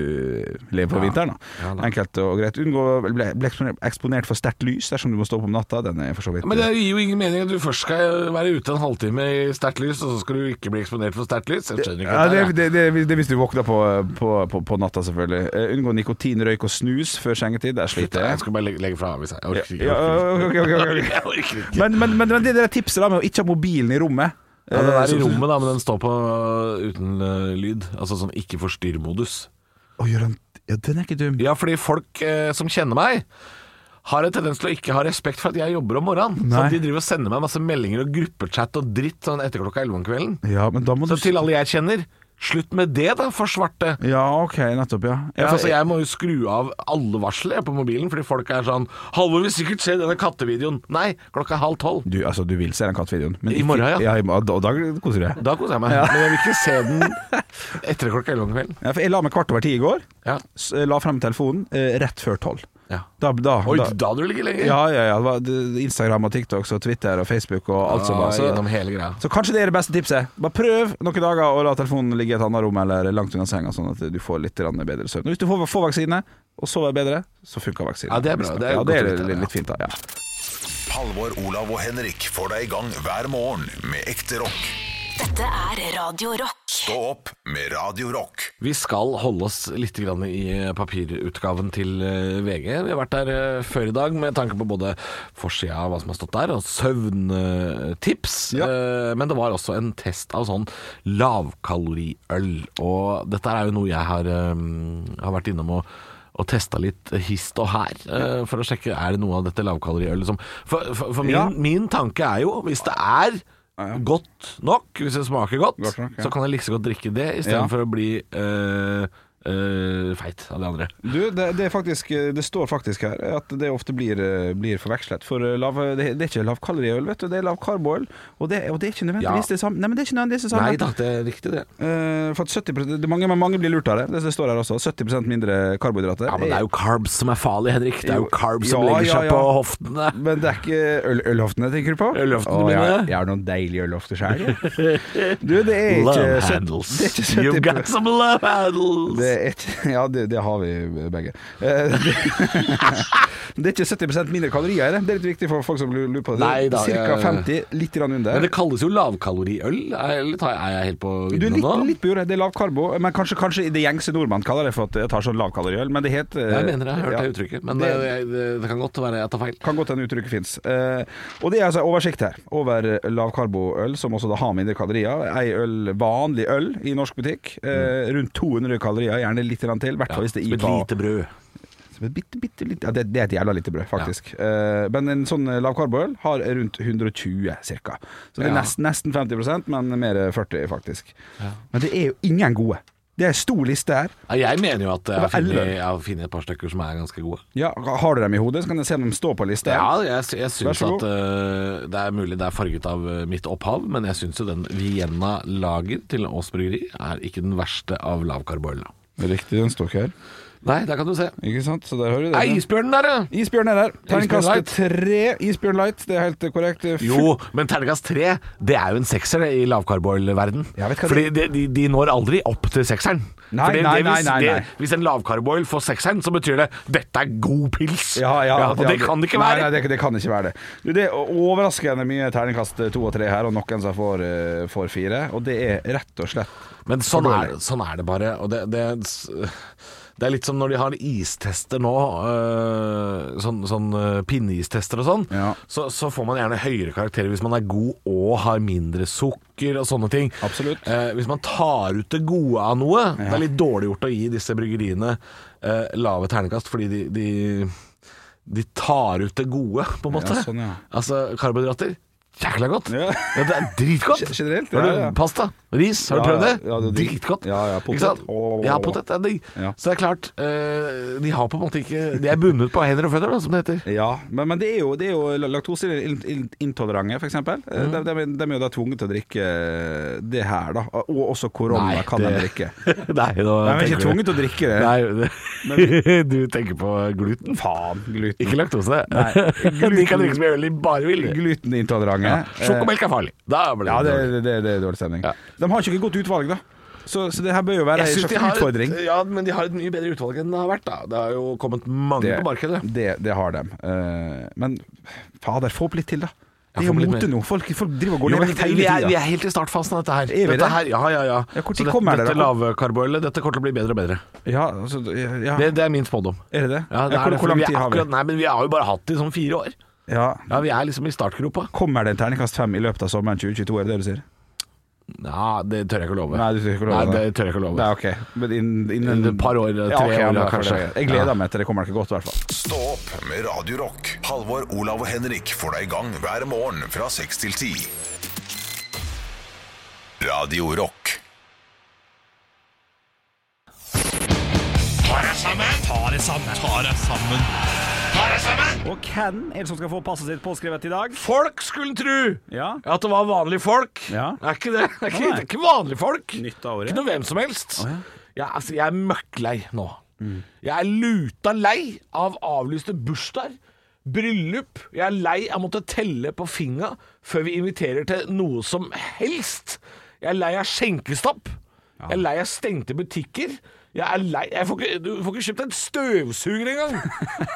[SPEAKER 5] lever på vinteren. Da. Enkelt og greit. Unngå å bli bli eksponert- eksponert for sterkt lys dersom du må stå opp om natta. Den er for så vidt
[SPEAKER 4] Men det gir jo ingen mening at du først skal være ute en halvtime i sterkt lys, og så skal du ikke bli eksponert for sterkt lys. Jeg skjønner ikke
[SPEAKER 5] eh, Ja,
[SPEAKER 4] dette her,
[SPEAKER 5] det, det, det, det hvis du våkner på, på, på, på natta, selvfølgelig. Eh, Unngå nikotin, røyk og snus før sengetid. Der
[SPEAKER 4] jeg.
[SPEAKER 5] sliter
[SPEAKER 4] Jeg
[SPEAKER 5] jeg.
[SPEAKER 4] skal bare legge, legge fra meg. Jeg orker ikke.
[SPEAKER 5] Ja,
[SPEAKER 4] Jeg orker
[SPEAKER 5] ok, ok, ok,
[SPEAKER 4] ikke.
[SPEAKER 5] ok.
[SPEAKER 4] Jeg orker ikke.
[SPEAKER 5] Men, men, men, men det der tipset da med å ikke ha mobilen i rommet eh,
[SPEAKER 4] Ja, den er i rommet, da, men den står på øh, uten øh, lyd. Altså sånn ikke forstyrr-modus.
[SPEAKER 5] Å, gjør han Ja, den er ikke dum.
[SPEAKER 4] Ja, fordi folk eh, som kjenner meg har en tendens til å ikke ha respekt for at jeg jobber om morgenen. Så
[SPEAKER 5] Nei.
[SPEAKER 4] de driver og sender meg masse meldinger og gruppechat og dritt sånn etter klokka 11 om kvelden.
[SPEAKER 5] Ja, men da må du
[SPEAKER 4] Så til alle jeg kjenner, slutt med det da, for svarte.
[SPEAKER 5] Ja, OK, nettopp, ja.
[SPEAKER 4] Ja, altså, jeg må jo skru av alle varsler jeg, på mobilen, fordi folk er sånn 'Halvor vil sikkert se denne kattevideoen'. Nei, klokka er halv tolv.
[SPEAKER 5] Du, altså, du vil se den kattvideoen. men
[SPEAKER 4] I
[SPEAKER 5] ikke-
[SPEAKER 4] morgen, ja.
[SPEAKER 5] i morgen, og da koser du deg.
[SPEAKER 4] Da koser jeg meg. Men jeg vil ikke se den etter klokka elleve om kvelden.
[SPEAKER 5] Ja, for jeg la meg kvart over ti i går.
[SPEAKER 4] Ja.
[SPEAKER 5] s- La frem telefonen eh, rett før tolv.
[SPEAKER 4] Ja.
[SPEAKER 5] Da, da,
[SPEAKER 4] Oi,
[SPEAKER 5] da,
[SPEAKER 4] da, hadde du ligget lenger.
[SPEAKER 5] Ja, ja, ja. Det var det- Instagram og TikTok og Twitter og Facebook og alt som var.
[SPEAKER 4] Ah, gjennom
[SPEAKER 5] Så,
[SPEAKER 4] hele greia.
[SPEAKER 5] så kanskje det er det beste tipset. Bare prøv noen dager å la telefonen ligge i et annet rom eller langt unna senga, sånn at du får litt grann bedre søvn. Og Hvis du får, får vaksine og sover bedre, så funker vaksinen.
[SPEAKER 4] Ja, det er bra. Det er
[SPEAKER 5] ja,
[SPEAKER 4] jo
[SPEAKER 5] det
[SPEAKER 4] godt å
[SPEAKER 5] er
[SPEAKER 4] vite,
[SPEAKER 5] litt,
[SPEAKER 4] ja.
[SPEAKER 5] litt fint, da. Ja.
[SPEAKER 1] Halvor, Olav og Henrik får deg i gang hver morgen med ekte rock.
[SPEAKER 2] Dette er Radio Rock.
[SPEAKER 1] Stå opp med Radio Rock.
[SPEAKER 4] Vi skal holde oss litt grann i eh, papirutgaven til eh, VG. Vi har vært der eh, før i dag med tanke på både forsida av hva som har stått der, og søvntips. Eh, Men det var også en test av sånn lavkaloriøl. Og dette er jo noe jeg har, eh, har vært innom og og testa litt hist og her, eh, for å sjekke er det noe av dette lavkaloriølet som For, for, for min,
[SPEAKER 5] Ja.
[SPEAKER 4] min tanke er jo, hvis det er godt nok, hvis det smaker godt,
[SPEAKER 5] Godt nok, ja.
[SPEAKER 4] så kan jeg like så godt drikke det
[SPEAKER 5] Ja.
[SPEAKER 4] istedenfor for å bli eh, eh, feit av de andre.
[SPEAKER 5] Du, det, det, er faktisk, det står faktisk her at det ofte blir, eh, blir forvekslet. For eh, lav, det, det er ikke lavkaloriøl, vet du. Det er lavkarboøl. Og, det- og det er ikke nødvendigvis
[SPEAKER 4] Ja.
[SPEAKER 5] det samme. Nei, men det er ikke nødvendigvis det samme.
[SPEAKER 4] Nei da, det er riktig det.
[SPEAKER 5] Eh, for at 70 det, mange, men mange blir lurt av det. Det, det står her også. 70 mindre karbohydrater.
[SPEAKER 4] Ja, Men det er jo carbs som er farlig, Henrik. Det er jo
[SPEAKER 5] Jo,
[SPEAKER 4] carbs som
[SPEAKER 5] ja,
[SPEAKER 4] legger
[SPEAKER 5] ja,
[SPEAKER 4] seg
[SPEAKER 5] ja.
[SPEAKER 4] på hoftene.
[SPEAKER 5] Men det er ikke øl ølhoftene tenker du på?
[SPEAKER 4] Ølhoftene
[SPEAKER 5] Å, Jeg,
[SPEAKER 4] mine.
[SPEAKER 5] jeg har noen deilige ølhofter sjøl. Du, det er ikke
[SPEAKER 4] Love
[SPEAKER 5] sytt-
[SPEAKER 4] handles.
[SPEAKER 5] Det er ikke
[SPEAKER 4] You've
[SPEAKER 5] 70
[SPEAKER 4] got some love handles.
[SPEAKER 5] det er ikke, ja, det, det har vi begge. Eh, det, det er ikke 70 mindre kalorier i det. Det er litt viktig for folk som lurer på det.
[SPEAKER 4] Nei da,
[SPEAKER 5] Cirka
[SPEAKER 4] jeg-
[SPEAKER 5] 50, litt grann under.
[SPEAKER 4] Men det kalles jo lavkaloriøl. Er eller tar jeg- er jeg helt på
[SPEAKER 5] Du er
[SPEAKER 4] viddene
[SPEAKER 5] litt,
[SPEAKER 4] nå?
[SPEAKER 5] litt på jordet. Det er lav karbo. Men kanskje, kanskje det gjengse nordmann kaller det for at jeg tar sånn lavkaloriøl, men det het eh,
[SPEAKER 4] Jeg mener det, jeg har hørt
[SPEAKER 5] ja.
[SPEAKER 4] det uttrykket. Men eh, det,
[SPEAKER 5] Det-
[SPEAKER 4] det, det kan godt være jeg tar feil.
[SPEAKER 5] Kan godt hende uttrykket fins. og det er altså oversikt her over lavkarboøl, som også da har mindre kalorier. Ei øl, vanlig øl i norsk butikk. eh, rundt 200 kalorier, gjerne litt grann til. I hvert fall hvis det er
[SPEAKER 4] Mm. Som et
[SPEAKER 5] IPA.
[SPEAKER 4] lite brød.
[SPEAKER 5] Som et bitte, bitte lite ja, det, det er et jævla lite brød, faktisk. Eh, men en sånn lavkarboøl har rundt 120 ca. Så det er
[SPEAKER 4] Ja.
[SPEAKER 5] nesten, nesten 50 men mer 40 faktisk. Men det er jo ingen gode. Det er en stor liste her.
[SPEAKER 4] Ja, Jeg mener jo at jeg har
[SPEAKER 5] Det var
[SPEAKER 4] funnet-
[SPEAKER 5] elleve.
[SPEAKER 4] jeg har funnet et par stykker som er ganske gode.
[SPEAKER 5] Ja, har du dem i hodet, så kan du se dem stå på lista.
[SPEAKER 4] Ja, jeg, sy- jeg
[SPEAKER 5] Vær
[SPEAKER 4] syns
[SPEAKER 5] så
[SPEAKER 4] at eh, det er mulig det er farget av eh, mitt opphav, men jeg syns jo den Vienna Lager til Ås Bryggeri er ikke den verste av lavkarboøla.
[SPEAKER 5] Riktig, den står ikke her.
[SPEAKER 4] Nei, der kan du se.
[SPEAKER 5] Ikke sant? Så der hører du det.
[SPEAKER 4] Nei, isbjørnen der, ja!
[SPEAKER 5] Isbjørn er der.
[SPEAKER 4] Isbjørn
[SPEAKER 5] Terningkastet
[SPEAKER 4] Light.
[SPEAKER 5] tre. Isbjørn Light, det er helt korrekt. Full-
[SPEAKER 4] Jo, men terningkast tre, det er jo en sekser det, i lavkarboil-verden.
[SPEAKER 5] Jeg vet hva det-
[SPEAKER 4] Fordi de, de, de når aldri opp til sekseren.
[SPEAKER 5] Nei,
[SPEAKER 4] For det-
[SPEAKER 5] nei,
[SPEAKER 4] det- hvis-
[SPEAKER 5] nei, nei, nei.
[SPEAKER 4] Det, hvis en lavkarboil får sekseren, så betyr det 'dette er god pils'.
[SPEAKER 5] Ja, ja,
[SPEAKER 4] og det kan det ikke
[SPEAKER 5] nei,
[SPEAKER 4] være.
[SPEAKER 5] Nei, det, det kan ikke være det. Du, det er overraskende mye terningkast to og tre her, og noen som får, eh, får fire. Og det er rett og slett
[SPEAKER 4] Men sånn
[SPEAKER 5] dårlig.
[SPEAKER 4] er, det- sånn er det bare. Og det, det, det er litt som når de har istester nå, øh, sånn, sånn øh, pinneistester og sånn,
[SPEAKER 5] Ja.
[SPEAKER 4] så, så får man gjerne høyere karakterer hvis man er god og har mindre sukker og sånne ting.
[SPEAKER 5] Absolutt.
[SPEAKER 4] Eh, hvis man tar ut det gode av noe Det er litt dårlig gjort å gi disse bryggeriene eh, lave ternekast, fordi de, de, de tar ut det gode, på en måte.
[SPEAKER 5] Ja, sånn, ja.
[SPEAKER 4] Altså karbohydrater. Jækla godt!
[SPEAKER 5] Ja.
[SPEAKER 4] Ja, det er dritgodt!
[SPEAKER 5] Ge- generelt,
[SPEAKER 4] Har du
[SPEAKER 5] ja, ja.
[SPEAKER 4] Pasta, ris, har du
[SPEAKER 5] Ja,
[SPEAKER 4] prøvd det?
[SPEAKER 5] ja, ja, det er digg.
[SPEAKER 4] Dritgodt.
[SPEAKER 5] Ja, ja, potet.
[SPEAKER 4] Ikke sant?
[SPEAKER 5] Åh.
[SPEAKER 4] Ja, potet er digg.
[SPEAKER 5] Ja.
[SPEAKER 4] Så det er klart, eh, de har på en måte ikke De er bundet på hender og føtter, da, som det heter.
[SPEAKER 5] Ja, men, men det er jo, det er jo laktoseintolerante, f.eks. Mm. De, de, de er jo da tvunget til å drikke eh, det her, da. Og også korona
[SPEAKER 4] Nei,
[SPEAKER 5] kan de
[SPEAKER 4] det-
[SPEAKER 5] drikke.
[SPEAKER 4] Nei,
[SPEAKER 5] De
[SPEAKER 4] nå
[SPEAKER 5] er ikke
[SPEAKER 4] tenker
[SPEAKER 5] tvunget til å drikke
[SPEAKER 4] du-
[SPEAKER 5] det.
[SPEAKER 4] Nei, du tenker på gluten.
[SPEAKER 5] Faen, gluten.
[SPEAKER 4] Ikke laktose.
[SPEAKER 5] Nei,
[SPEAKER 4] De kan
[SPEAKER 5] gluten-
[SPEAKER 4] drikke så mye øl de bare vil.
[SPEAKER 5] Glutenintolerante. Eh,
[SPEAKER 4] Ja. Sjokomelk er farlig. Da blir det
[SPEAKER 5] Ja, det,
[SPEAKER 4] dårlig.
[SPEAKER 5] det, det, det er dårlig stemning.
[SPEAKER 4] Ja.
[SPEAKER 5] De har ikke et godt utvalg, da. Så, så det her bør jo være
[SPEAKER 4] Jeg
[SPEAKER 5] en
[SPEAKER 4] synes de
[SPEAKER 5] slags
[SPEAKER 4] har et-
[SPEAKER 5] utfordring.
[SPEAKER 4] Ja, men de har et mye bedre utvalg enn det har vært. da Det har jo kommet mange på markedet.
[SPEAKER 5] Det, det har de. Eh, men fader, få opp litt til, da.
[SPEAKER 4] Ja,
[SPEAKER 5] Det er jo
[SPEAKER 4] få opp litt
[SPEAKER 5] mote
[SPEAKER 4] mer.
[SPEAKER 5] nå. Folk, folk driver og går
[SPEAKER 4] Jo,
[SPEAKER 5] ned
[SPEAKER 4] men
[SPEAKER 5] i vekt
[SPEAKER 4] vi,
[SPEAKER 5] hele
[SPEAKER 4] er, vi
[SPEAKER 5] tida.
[SPEAKER 4] er helt i startfasen av dette her.
[SPEAKER 5] Er vi
[SPEAKER 4] dette
[SPEAKER 5] det?
[SPEAKER 4] her ja, ja, ja.
[SPEAKER 5] Ja, hvor tid
[SPEAKER 4] Så det-
[SPEAKER 5] kommer dere
[SPEAKER 4] dette
[SPEAKER 5] da?
[SPEAKER 4] lavkarboilet dette kommer til å bli bedre og bedre.
[SPEAKER 5] Ja, altså, ja,
[SPEAKER 4] Det, det er min spådom.
[SPEAKER 5] er det det?
[SPEAKER 4] Ja, det
[SPEAKER 5] Ja,
[SPEAKER 4] er
[SPEAKER 5] hvor,
[SPEAKER 4] det,
[SPEAKER 5] hvor lang
[SPEAKER 4] for
[SPEAKER 5] tid
[SPEAKER 4] er
[SPEAKER 5] har vi?
[SPEAKER 4] akkurat- Nei, men vi har jo bare hatt det i sånn fire år.
[SPEAKER 5] Ja.
[SPEAKER 4] Ja, Vi er liksom i startgropa.
[SPEAKER 5] Kommer det en terningkast fem i løpet av sommeren 2022, er det det du sier?
[SPEAKER 4] Ja, det tør jeg ikke å love.
[SPEAKER 5] Nei, du tør ikke å love
[SPEAKER 4] Nei,
[SPEAKER 5] det.
[SPEAKER 4] det tør jeg ikke å love.
[SPEAKER 5] Nei, ok. Men innen,
[SPEAKER 4] Innen et par år, tre
[SPEAKER 5] ok,
[SPEAKER 4] år,
[SPEAKER 5] men
[SPEAKER 4] da,
[SPEAKER 5] jeg får
[SPEAKER 4] kanskje.
[SPEAKER 5] det. Jeg gleder
[SPEAKER 4] Ja.
[SPEAKER 5] meg til det kommer ikke godt, i hvert fall.
[SPEAKER 1] Stå opp med Radio Rock. Halvor, Olav og Henrik får deg i gang hver morgen fra 6 til 10. Radio Rock.
[SPEAKER 5] Og hvem er det som skal få passet sitt påskrevet i dag?
[SPEAKER 4] Folk skulle tru
[SPEAKER 5] Ja.
[SPEAKER 4] at det var vanlige folk.
[SPEAKER 5] Ja.
[SPEAKER 4] Det er ikke det. Det er ikke,
[SPEAKER 5] Nei.
[SPEAKER 4] det er ikke vanlige folk.
[SPEAKER 5] Nytt av året.
[SPEAKER 4] Ikke noe hvem som helst. jeg, altså, jeg er møkklei nå.
[SPEAKER 5] Mm.
[SPEAKER 4] Jeg er luta lei av avlyste bursdager, bryllup. Jeg er lei av å måtte telle på finga før vi inviterer til noe som helst. Jeg er lei av skjenkestopp. Jeg er lei av stengte butikker. Jeg er lei jeg får ikke, Du får ikke kjøpt en støvsuger engang!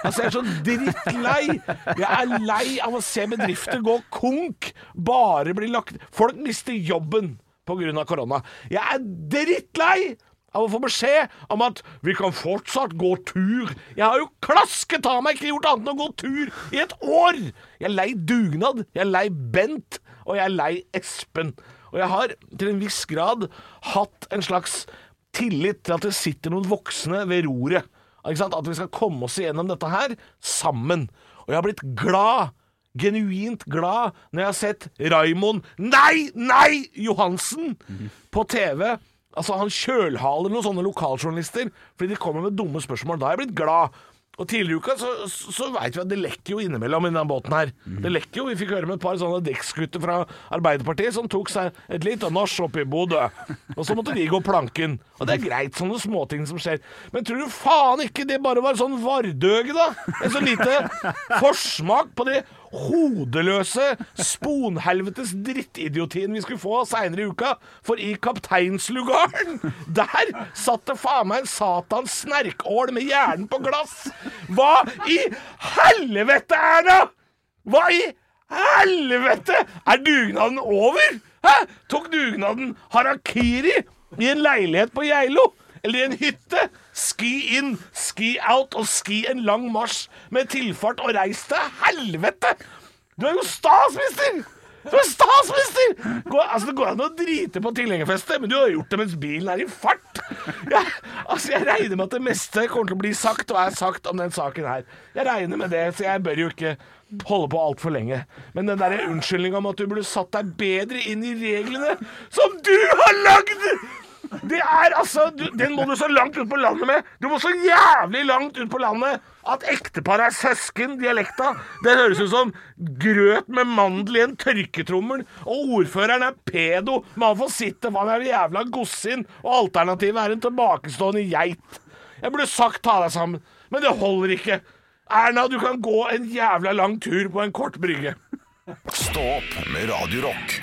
[SPEAKER 4] Altså, jeg er så drittlei! Jeg er lei av å se bedrifter gå konk, bare bli lagt Folk mister jobben pga. korona. Jeg er drittlei av å få beskjed om at 'vi kan fortsatt gå tur'. Jeg har jo klasket av meg ikke gjort annet enn å gå tur i et år! Jeg er lei dugnad, jeg er lei Bent, og jeg er lei Espen. Og jeg har til en viss grad hatt en slags tillit til at det sitter noen voksne ved roret. Ikke sant? At vi skal komme oss igjennom dette her sammen. Og jeg har blitt glad, genuint glad, når jeg har sett Raimond Nei, nei! Johansen på TV. Altså, han kjølhaler noen sånne lokaljournalister fordi de kommer med dumme spørsmål. Da har jeg blitt glad. Og tidligere i uka så, så, så veit vi at det lekker jo innimellom i den båten her. Det lekker jo. Vi fikk høre med et par sånne dekksgutter fra Arbeiderpartiet som tok seg et lite nach oppe i Bodø. Og så måtte de gå planken. Og det er greit, sånne småting som skjer. Men tror du faen ikke det bare var sånn vardøge, da? En så lite forsmak på det hodeløse sponhelvetes drittidiotien vi skulle få seinere i uka. For i kapteinslugaren, der satt det faen meg en satans snerkål med hjernen på glass! Hva i helvete, Erna?! Hva i helvete?! Er dugnaden over?! Hæ? Tok dugnaden harakiri i en leilighet på Geilo? Eller i en hytte? Ski inn, ski out og ski en lang marsj med tilfart og reis til helvete! Du er jo statsminister! Du er statsminister! Går, altså, det går an å drite på tilhengerfestet, men du har gjort det mens bilen er i fart. Jeg, altså, jeg regner med at det meste kommer til å bli sagt og er sagt om den saken her. Jeg regner med det, så jeg bør jo ikke holde på altfor lenge. Men den derre unnskyldninga om at du burde satt deg bedre inn i reglene som du har lagd! Det er altså du, Den må du så langt ut på landet med. Du må så jævlig langt ut på landet at ektepar er søsken. Dialekta. Det høres ut som grøt med mandel i en tørketrommel. Og ordføreren er pedo. Man får sitte, for han er en jævla gossin. Og alternativet er en tilbakestående geit. Jeg burde sagt ta deg sammen, men det holder ikke. Erna, du kan gå en jævla lang tur på en kort brygge.
[SPEAKER 1] Stå opp med Radio Rock.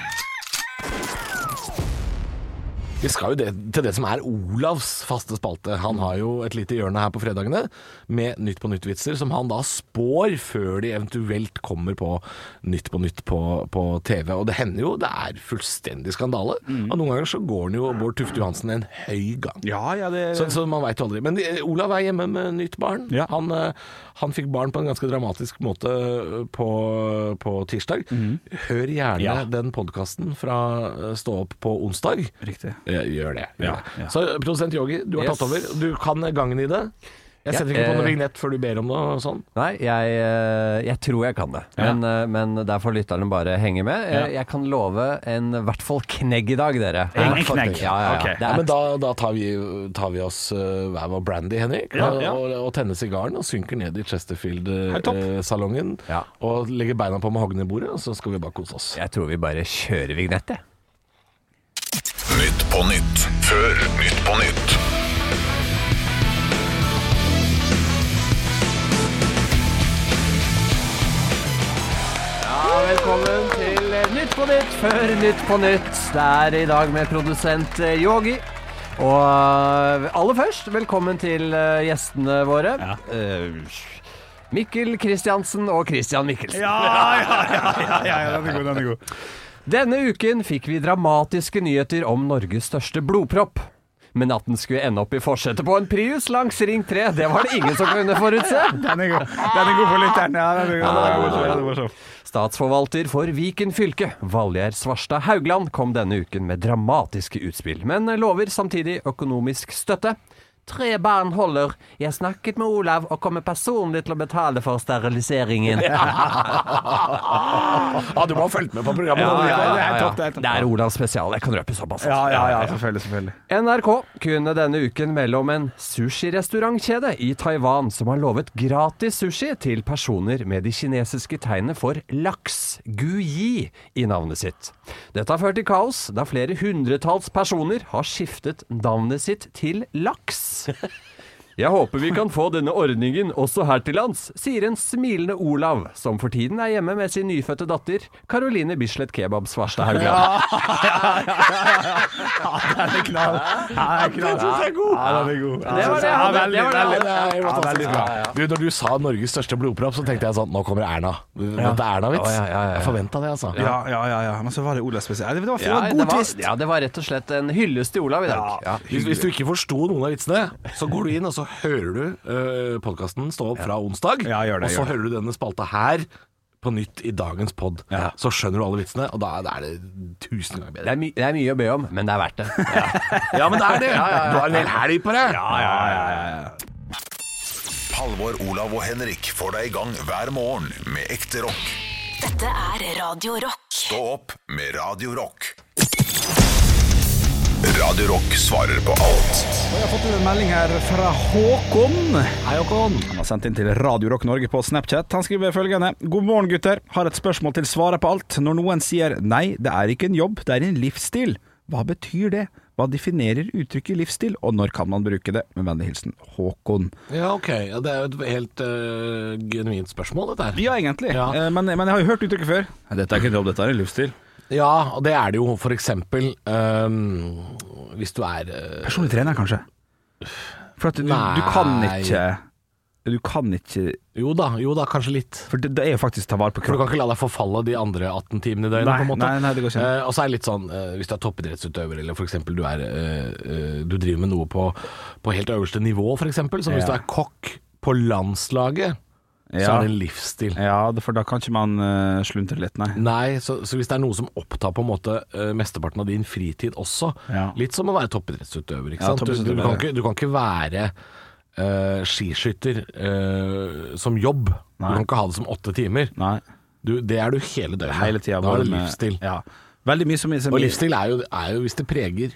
[SPEAKER 4] Vi skal jo det, til det som er Olavs faste spalte. Han har jo et lite hjørne her på fredagene med Nytt på nytt-vitser, som han da spår før de eventuelt kommer på Nytt på nytt på, på TV. Og det hender jo det er fullstendig skandale. Og noen ganger så går han jo Bård Tufte Johansen en høy gang.
[SPEAKER 5] Ja, ja, det
[SPEAKER 4] Så, så man veit jo aldri. Men eh, Olav er hjemme med nytt barn.
[SPEAKER 5] Ja.
[SPEAKER 4] Han, eh, han fikk barn på en ganske dramatisk måte eh, på, på tirsdag. Hør gjerne
[SPEAKER 5] Mhm. Ja.
[SPEAKER 4] den podkasten fra eh, Stå opp på onsdag.
[SPEAKER 5] Riktig.
[SPEAKER 4] Eh, Gjør det. Gjør
[SPEAKER 5] Ja,
[SPEAKER 4] det.
[SPEAKER 5] ja.
[SPEAKER 4] Så eh, produsent Yogi, du har
[SPEAKER 6] Yes.
[SPEAKER 4] tatt over. Du kan gangen i det. Jeg setter ikke på
[SPEAKER 6] eh,
[SPEAKER 4] noe vignett før du ber om det og sånn.
[SPEAKER 6] Nei, jeg, eh, jeg tror jeg kan det. Men, eh, men der får lytterne bare henge med. Eh, Jeg kan love en i hvert fall knegg i dag, dere.
[SPEAKER 5] En
[SPEAKER 6] Ja,
[SPEAKER 5] knegg?
[SPEAKER 6] faktisk. Ja, ja, ja.
[SPEAKER 5] Ok.
[SPEAKER 6] Det
[SPEAKER 4] Ja,
[SPEAKER 6] er,
[SPEAKER 4] men da, da tar, vi, tar vi oss eh, hver vår brandy, Henrik, og- Og, og tenner sigaren og synker ned i
[SPEAKER 5] Hei, topp.
[SPEAKER 4] Chesterfield-salongen.
[SPEAKER 6] Ja.
[SPEAKER 4] Og legger beina på mahognibordet, og så skal vi bare kose oss.
[SPEAKER 6] jeg tror vi bare kjører vignett, jeg.
[SPEAKER 1] Nytt på nytt før Nytt på nytt.
[SPEAKER 6] Ja, velkommen til eh, Nytt på Nytt før Nytt på Nytt. Det er i dag med produsent eh, Yogi. Og eh, aller først, velkommen til eh, gjestene våre. Eh, Mikkel Kristiansen og Christian Mikkelsen.
[SPEAKER 5] den er god, den er god.
[SPEAKER 6] Denne uken fikk vi dramatiske nyheter om Norges største blodpropp. men at den skulle ende opp i forsetet på en Prius langs Ring 3, det var det ingen som kunne forutse.
[SPEAKER 5] Den er god, den er god for lytteren. Ja, den er god. Den er morsom, den er morsom.
[SPEAKER 6] Statsforvalter for Viken fylke, Valgjerd Svarstad Haugland, kom denne uken med dramatiske utspill, men lover samtidig økonomisk støtte. Tre barn holder. Jeg snakket med Olav og kommer personlig til å betale for steriliseringen.
[SPEAKER 4] Ja, Ah, du må ha fulgt med på programmet.
[SPEAKER 5] Ja,
[SPEAKER 4] da.
[SPEAKER 5] ja, ja,
[SPEAKER 6] ja,
[SPEAKER 5] det er topp, det
[SPEAKER 6] ja.
[SPEAKER 5] er topp.
[SPEAKER 6] Det er Olavs spesial. Jeg kan røpe såpass.
[SPEAKER 5] Ja, ja, ja, selvfølgelig, selvfølgelig.
[SPEAKER 6] NRK kunne denne uken melde om en sushirestaurantkjede i Taiwan som har lovet gratis sushi til personer med de kinesiske tegnene for laks, guyi, i navnet sitt. Dette har ført til kaos, da flere hundretalls personer har skiftet navnet sitt til laks. Jeg håper vi kan få denne ordningen også her til lands, sier en smilende Olav, som for tiden er hjemme med sin nyfødte datter, Caroline Bislett Kebab Svarstad Haugland.
[SPEAKER 5] Det er knall. Ja, det er knall. Ja, den er god.
[SPEAKER 6] Det var det jeg hadde, det var det jeg hadde.
[SPEAKER 4] Ja, det var
[SPEAKER 5] Ja,
[SPEAKER 4] fantastisk.
[SPEAKER 5] veldig bra.
[SPEAKER 4] Du, når du sa Norges største blodpropp, så tenkte jeg sånn Nå kommer Erna. Dette er Erna-vits.
[SPEAKER 6] Ja, ja, ja, ja, ja.
[SPEAKER 4] Jeg forventa det, altså.
[SPEAKER 5] Ja, ja, ja, ja. Men så var det Ola spesielt. Det var, det
[SPEAKER 6] Ja,
[SPEAKER 5] var
[SPEAKER 6] det
[SPEAKER 5] god
[SPEAKER 6] var,
[SPEAKER 5] twist.
[SPEAKER 6] ja, det var rett og slett en hyllest til Olav i dag. Ja.
[SPEAKER 4] Hvis, hvis du ikke forsto noen av vitsene, så går du inn og så hører du uh, podkasten stå opp fra onsdag.
[SPEAKER 5] Ja, gjør det,
[SPEAKER 4] og så
[SPEAKER 5] gjør det.
[SPEAKER 4] hører du denne spalta her på nytt i dagens pod.
[SPEAKER 5] Ja.
[SPEAKER 4] Så skjønner du alle vitsene, og da er det tusen ganger
[SPEAKER 6] Det,
[SPEAKER 4] bedre.
[SPEAKER 6] er my, det er mye å be om, men det er verdt det.
[SPEAKER 4] Ja, men det er det! Du har en hel helg på deg!
[SPEAKER 1] Halvor, Olav og Henrik får deg i gang hver morgen med ekte rock.
[SPEAKER 2] Dette er Radio Rock.
[SPEAKER 1] Stå opp med Radio Rock. Radio Rock svarer på alt.
[SPEAKER 5] Og Jeg har fått en melding her fra Håkon. Hei, Håkon. Han har sendt inn til Radio Rock Norge på Snapchat. Han skriver følgende. God morgen, gutter. Har et spørsmål til svaret på alt. Når noen sier nei, det er ikke en jobb, det er en livsstil. Hva betyr det? Hva definerer uttrykket livsstil, og når kan man bruke det? Med vennlig hilsen Håkon.
[SPEAKER 4] Ja, ok. Ja, det er jo et helt eh, genuint spørsmål, dette her.
[SPEAKER 5] Ja, egentlig.
[SPEAKER 4] Ja.
[SPEAKER 5] Eh, Men, men jeg har jo hørt uttrykket før. Dette er ikke en jobb, dette er en livsstil.
[SPEAKER 4] Ja, og det er det jo for eksempel eh, hvis du er eh,
[SPEAKER 5] Personlig trener, kanskje. For at du, du kan
[SPEAKER 4] Nei.
[SPEAKER 5] ikke Du kan ikke
[SPEAKER 4] Jo da, jo da, kanskje litt.
[SPEAKER 5] For det, det er jo faktisk ta vare på
[SPEAKER 4] For du
[SPEAKER 5] kroppen.
[SPEAKER 4] kan ikke la deg forfalle de andre 18 timene i døgnet,
[SPEAKER 5] Nei,
[SPEAKER 4] på en måte.
[SPEAKER 5] nei, nei, det går ikke.
[SPEAKER 4] Eh, og så er det litt sånn, eh, hvis du er toppidrettsutøver, eller f.eks. Du, er, eh, eh, du driver med noe på, på helt øverste nivå, f.eks. Som hvis
[SPEAKER 5] Ja.
[SPEAKER 4] du er kokk på landslaget, Eh, så
[SPEAKER 5] Ja.
[SPEAKER 4] er det en livsstil.
[SPEAKER 5] Ja, det- for da kan ikke man eh, sluntre litt, nei.
[SPEAKER 4] Nei, så, så hvis det er noe som opptar på en måte eh, mesteparten av din fritid også,
[SPEAKER 5] Ja.
[SPEAKER 4] litt som å være toppidrettsutøver, ikke
[SPEAKER 5] Ja,
[SPEAKER 4] sant? Du, du,
[SPEAKER 5] toppidrettsutøver,
[SPEAKER 4] kan
[SPEAKER 5] ja.
[SPEAKER 4] ikke, du kan ikke være eh, skiskytter eh, som jobb.
[SPEAKER 5] Nei.
[SPEAKER 4] Du kan ikke ha det som åtte timer.
[SPEAKER 5] Nei,
[SPEAKER 4] Du, det er du hele døgnet.
[SPEAKER 5] Hele tida.
[SPEAKER 4] da
[SPEAKER 5] bare
[SPEAKER 4] er det
[SPEAKER 5] med-
[SPEAKER 4] livsstil.
[SPEAKER 5] Ja. Veldig mye som, som
[SPEAKER 4] Og livsstil er jo, er jo hvis det preger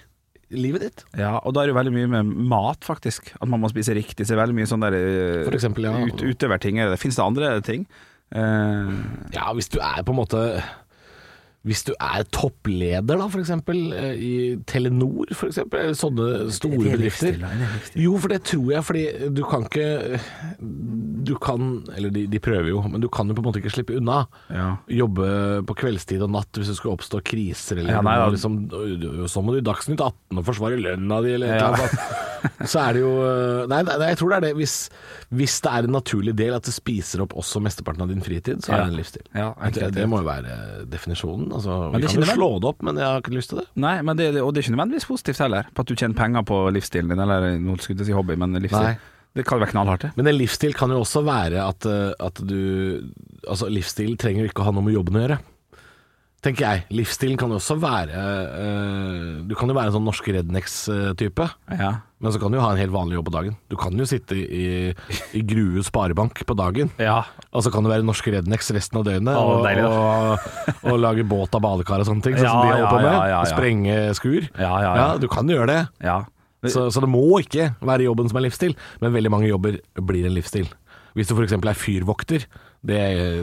[SPEAKER 4] livet ditt.
[SPEAKER 5] Ja, og da er det jo veldig mye med mat, faktisk. At man må spise riktig. Så det er veldig mye sånn der eh,
[SPEAKER 4] For eksempel, ja.
[SPEAKER 5] ut, utøverting. er det. Finnes det andre ting? Eh,
[SPEAKER 4] Ja, hvis du er på en måte Hvis du er toppleder, da, for eksempel, eh, i Telenor, for eksempel, eller sånne store bedrifter. Jo, for det tror jeg, fordi du kan ikke Du kan, eller de, de prøver jo, men du kan jo på en måte ikke slippe unna.
[SPEAKER 5] ja.
[SPEAKER 4] Jobbe på kveldstid og natt hvis det skulle oppstå kriser, eller
[SPEAKER 5] Ja, nei, da-
[SPEAKER 4] liksom, så må du i Dagsnytt 18 og forsvare lønna di, eller et eller annet. sånt. Så er det jo eh, Nei, nei, nei, jeg tror det er det. Hvis, hvis det er en naturlig del at det spiser opp også mesteparten av din fritid, så er
[SPEAKER 5] Ja.
[SPEAKER 4] det en livsstil.
[SPEAKER 5] Ja, helt
[SPEAKER 4] det,
[SPEAKER 5] rett,
[SPEAKER 4] det
[SPEAKER 5] helt.
[SPEAKER 4] må jo være definisjonen. Altså,
[SPEAKER 5] det
[SPEAKER 4] vi
[SPEAKER 5] kjenner
[SPEAKER 4] kan jo
[SPEAKER 5] vel-
[SPEAKER 4] slå det opp, men jeg har ikke lyst til det.
[SPEAKER 5] Nei, men det, det- og det er ikke nødvendigvis positivt heller. På at du tjener penger på livsstilen din, eller nå skulle jeg si hobby, men livsstil.
[SPEAKER 4] Nei.
[SPEAKER 5] Det kan jo være knallhardt, det.
[SPEAKER 4] Men en livsstil kan jo også være at, eh, at du Altså, livsstil trenger jo ikke å ha noe med jobben å gjøre. Tenker jeg. Livsstilen kan jo også være eh, Du kan jo være en sånn norske rednecks-type.
[SPEAKER 5] Ja.
[SPEAKER 4] Men så kan du jo ha en helt vanlig jobb på dagen. Du kan jo sitte i, i Grue sparebank på dagen.
[SPEAKER 5] Ja.
[SPEAKER 4] Og så kan du være norsk rednex resten av døgnet
[SPEAKER 5] Å,
[SPEAKER 4] og,
[SPEAKER 5] deilig,
[SPEAKER 4] og, og lage båt av badekar og sånne ting. Sånn
[SPEAKER 5] Ja,
[SPEAKER 4] som de holder
[SPEAKER 5] ja,
[SPEAKER 4] på med.
[SPEAKER 5] ja, ja, ja.
[SPEAKER 4] Sprenge skur.
[SPEAKER 5] Ja, ja, ja.
[SPEAKER 4] Du kan gjøre det.
[SPEAKER 5] ja.
[SPEAKER 4] Så, så det må ikke være jobben som er livsstil, men veldig mange jobber blir en livsstil. Hvis du f.eks. er fyrvokter, det,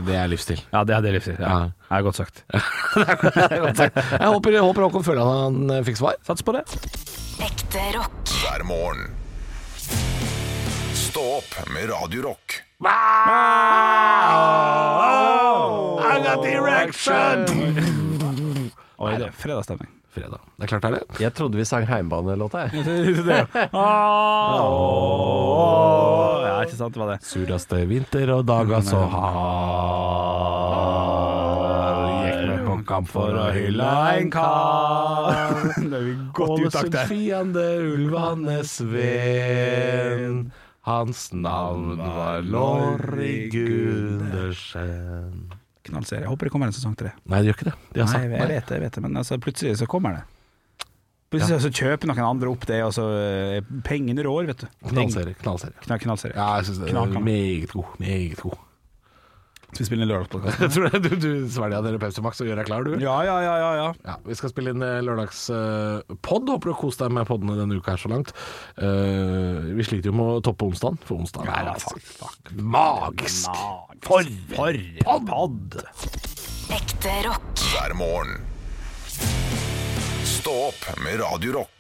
[SPEAKER 4] det er livsstil.
[SPEAKER 5] Ja, det hadde jeg livsstil. Ja.
[SPEAKER 4] Ja.
[SPEAKER 5] Det er godt sagt.
[SPEAKER 4] Jeg håper, jeg håper Håkon føler at han eh, fikk svar.
[SPEAKER 5] Sats på det.
[SPEAKER 2] Ekte rock.
[SPEAKER 1] Hver morgen. Stå opp med Radio Rock.
[SPEAKER 5] Oi, det er fredagsstemning.
[SPEAKER 4] Fredag. Det er klart det er det.
[SPEAKER 6] Jeg trodde vi sang heimebanelåta, jeg.
[SPEAKER 5] Ja, ikke sant, det var det.
[SPEAKER 4] Sureste vinter og dager så har Gikk med på kamp for å hylle en kar.
[SPEAKER 5] Det er vi godt i utakt der.
[SPEAKER 4] fiende, ulvenes venn. Hans navn var Lorry Gundersen.
[SPEAKER 5] Knallserie. Jeg håper det kommer en sesong tre.
[SPEAKER 4] Nei, det gjør ikke det. De har
[SPEAKER 5] Nei,
[SPEAKER 4] sagt
[SPEAKER 5] jeg,
[SPEAKER 4] nei.
[SPEAKER 5] vet det, jeg vet det, men altså, plutselig så kommer det. Plutselig så kjøper noen andre opp det, og så eh, Pengene rår, vet du.
[SPEAKER 4] Knallserie. knallserie.
[SPEAKER 5] Knall, knallserie.
[SPEAKER 4] Ja, jeg syns det er
[SPEAKER 5] Knakende.
[SPEAKER 4] meget god. Meget god.
[SPEAKER 5] Skal vi spille en lørdagspodkast?
[SPEAKER 4] Jeg tror det, du, du svelger dere Pepsi Max og gjør deg klar, du.
[SPEAKER 5] Ja, ja, ja, ja, ja.
[SPEAKER 4] Ja, vi skal spille inn eh, lørdagspod. Håper du har kost deg med poddene denne uka her så langt. Eh, vi sliter jo med å toppe onsdagen, for onsdagen er altså magisk. For en podd!
[SPEAKER 2] Ekte rock.
[SPEAKER 1] hver morgen. Stå opp med Radio Rock.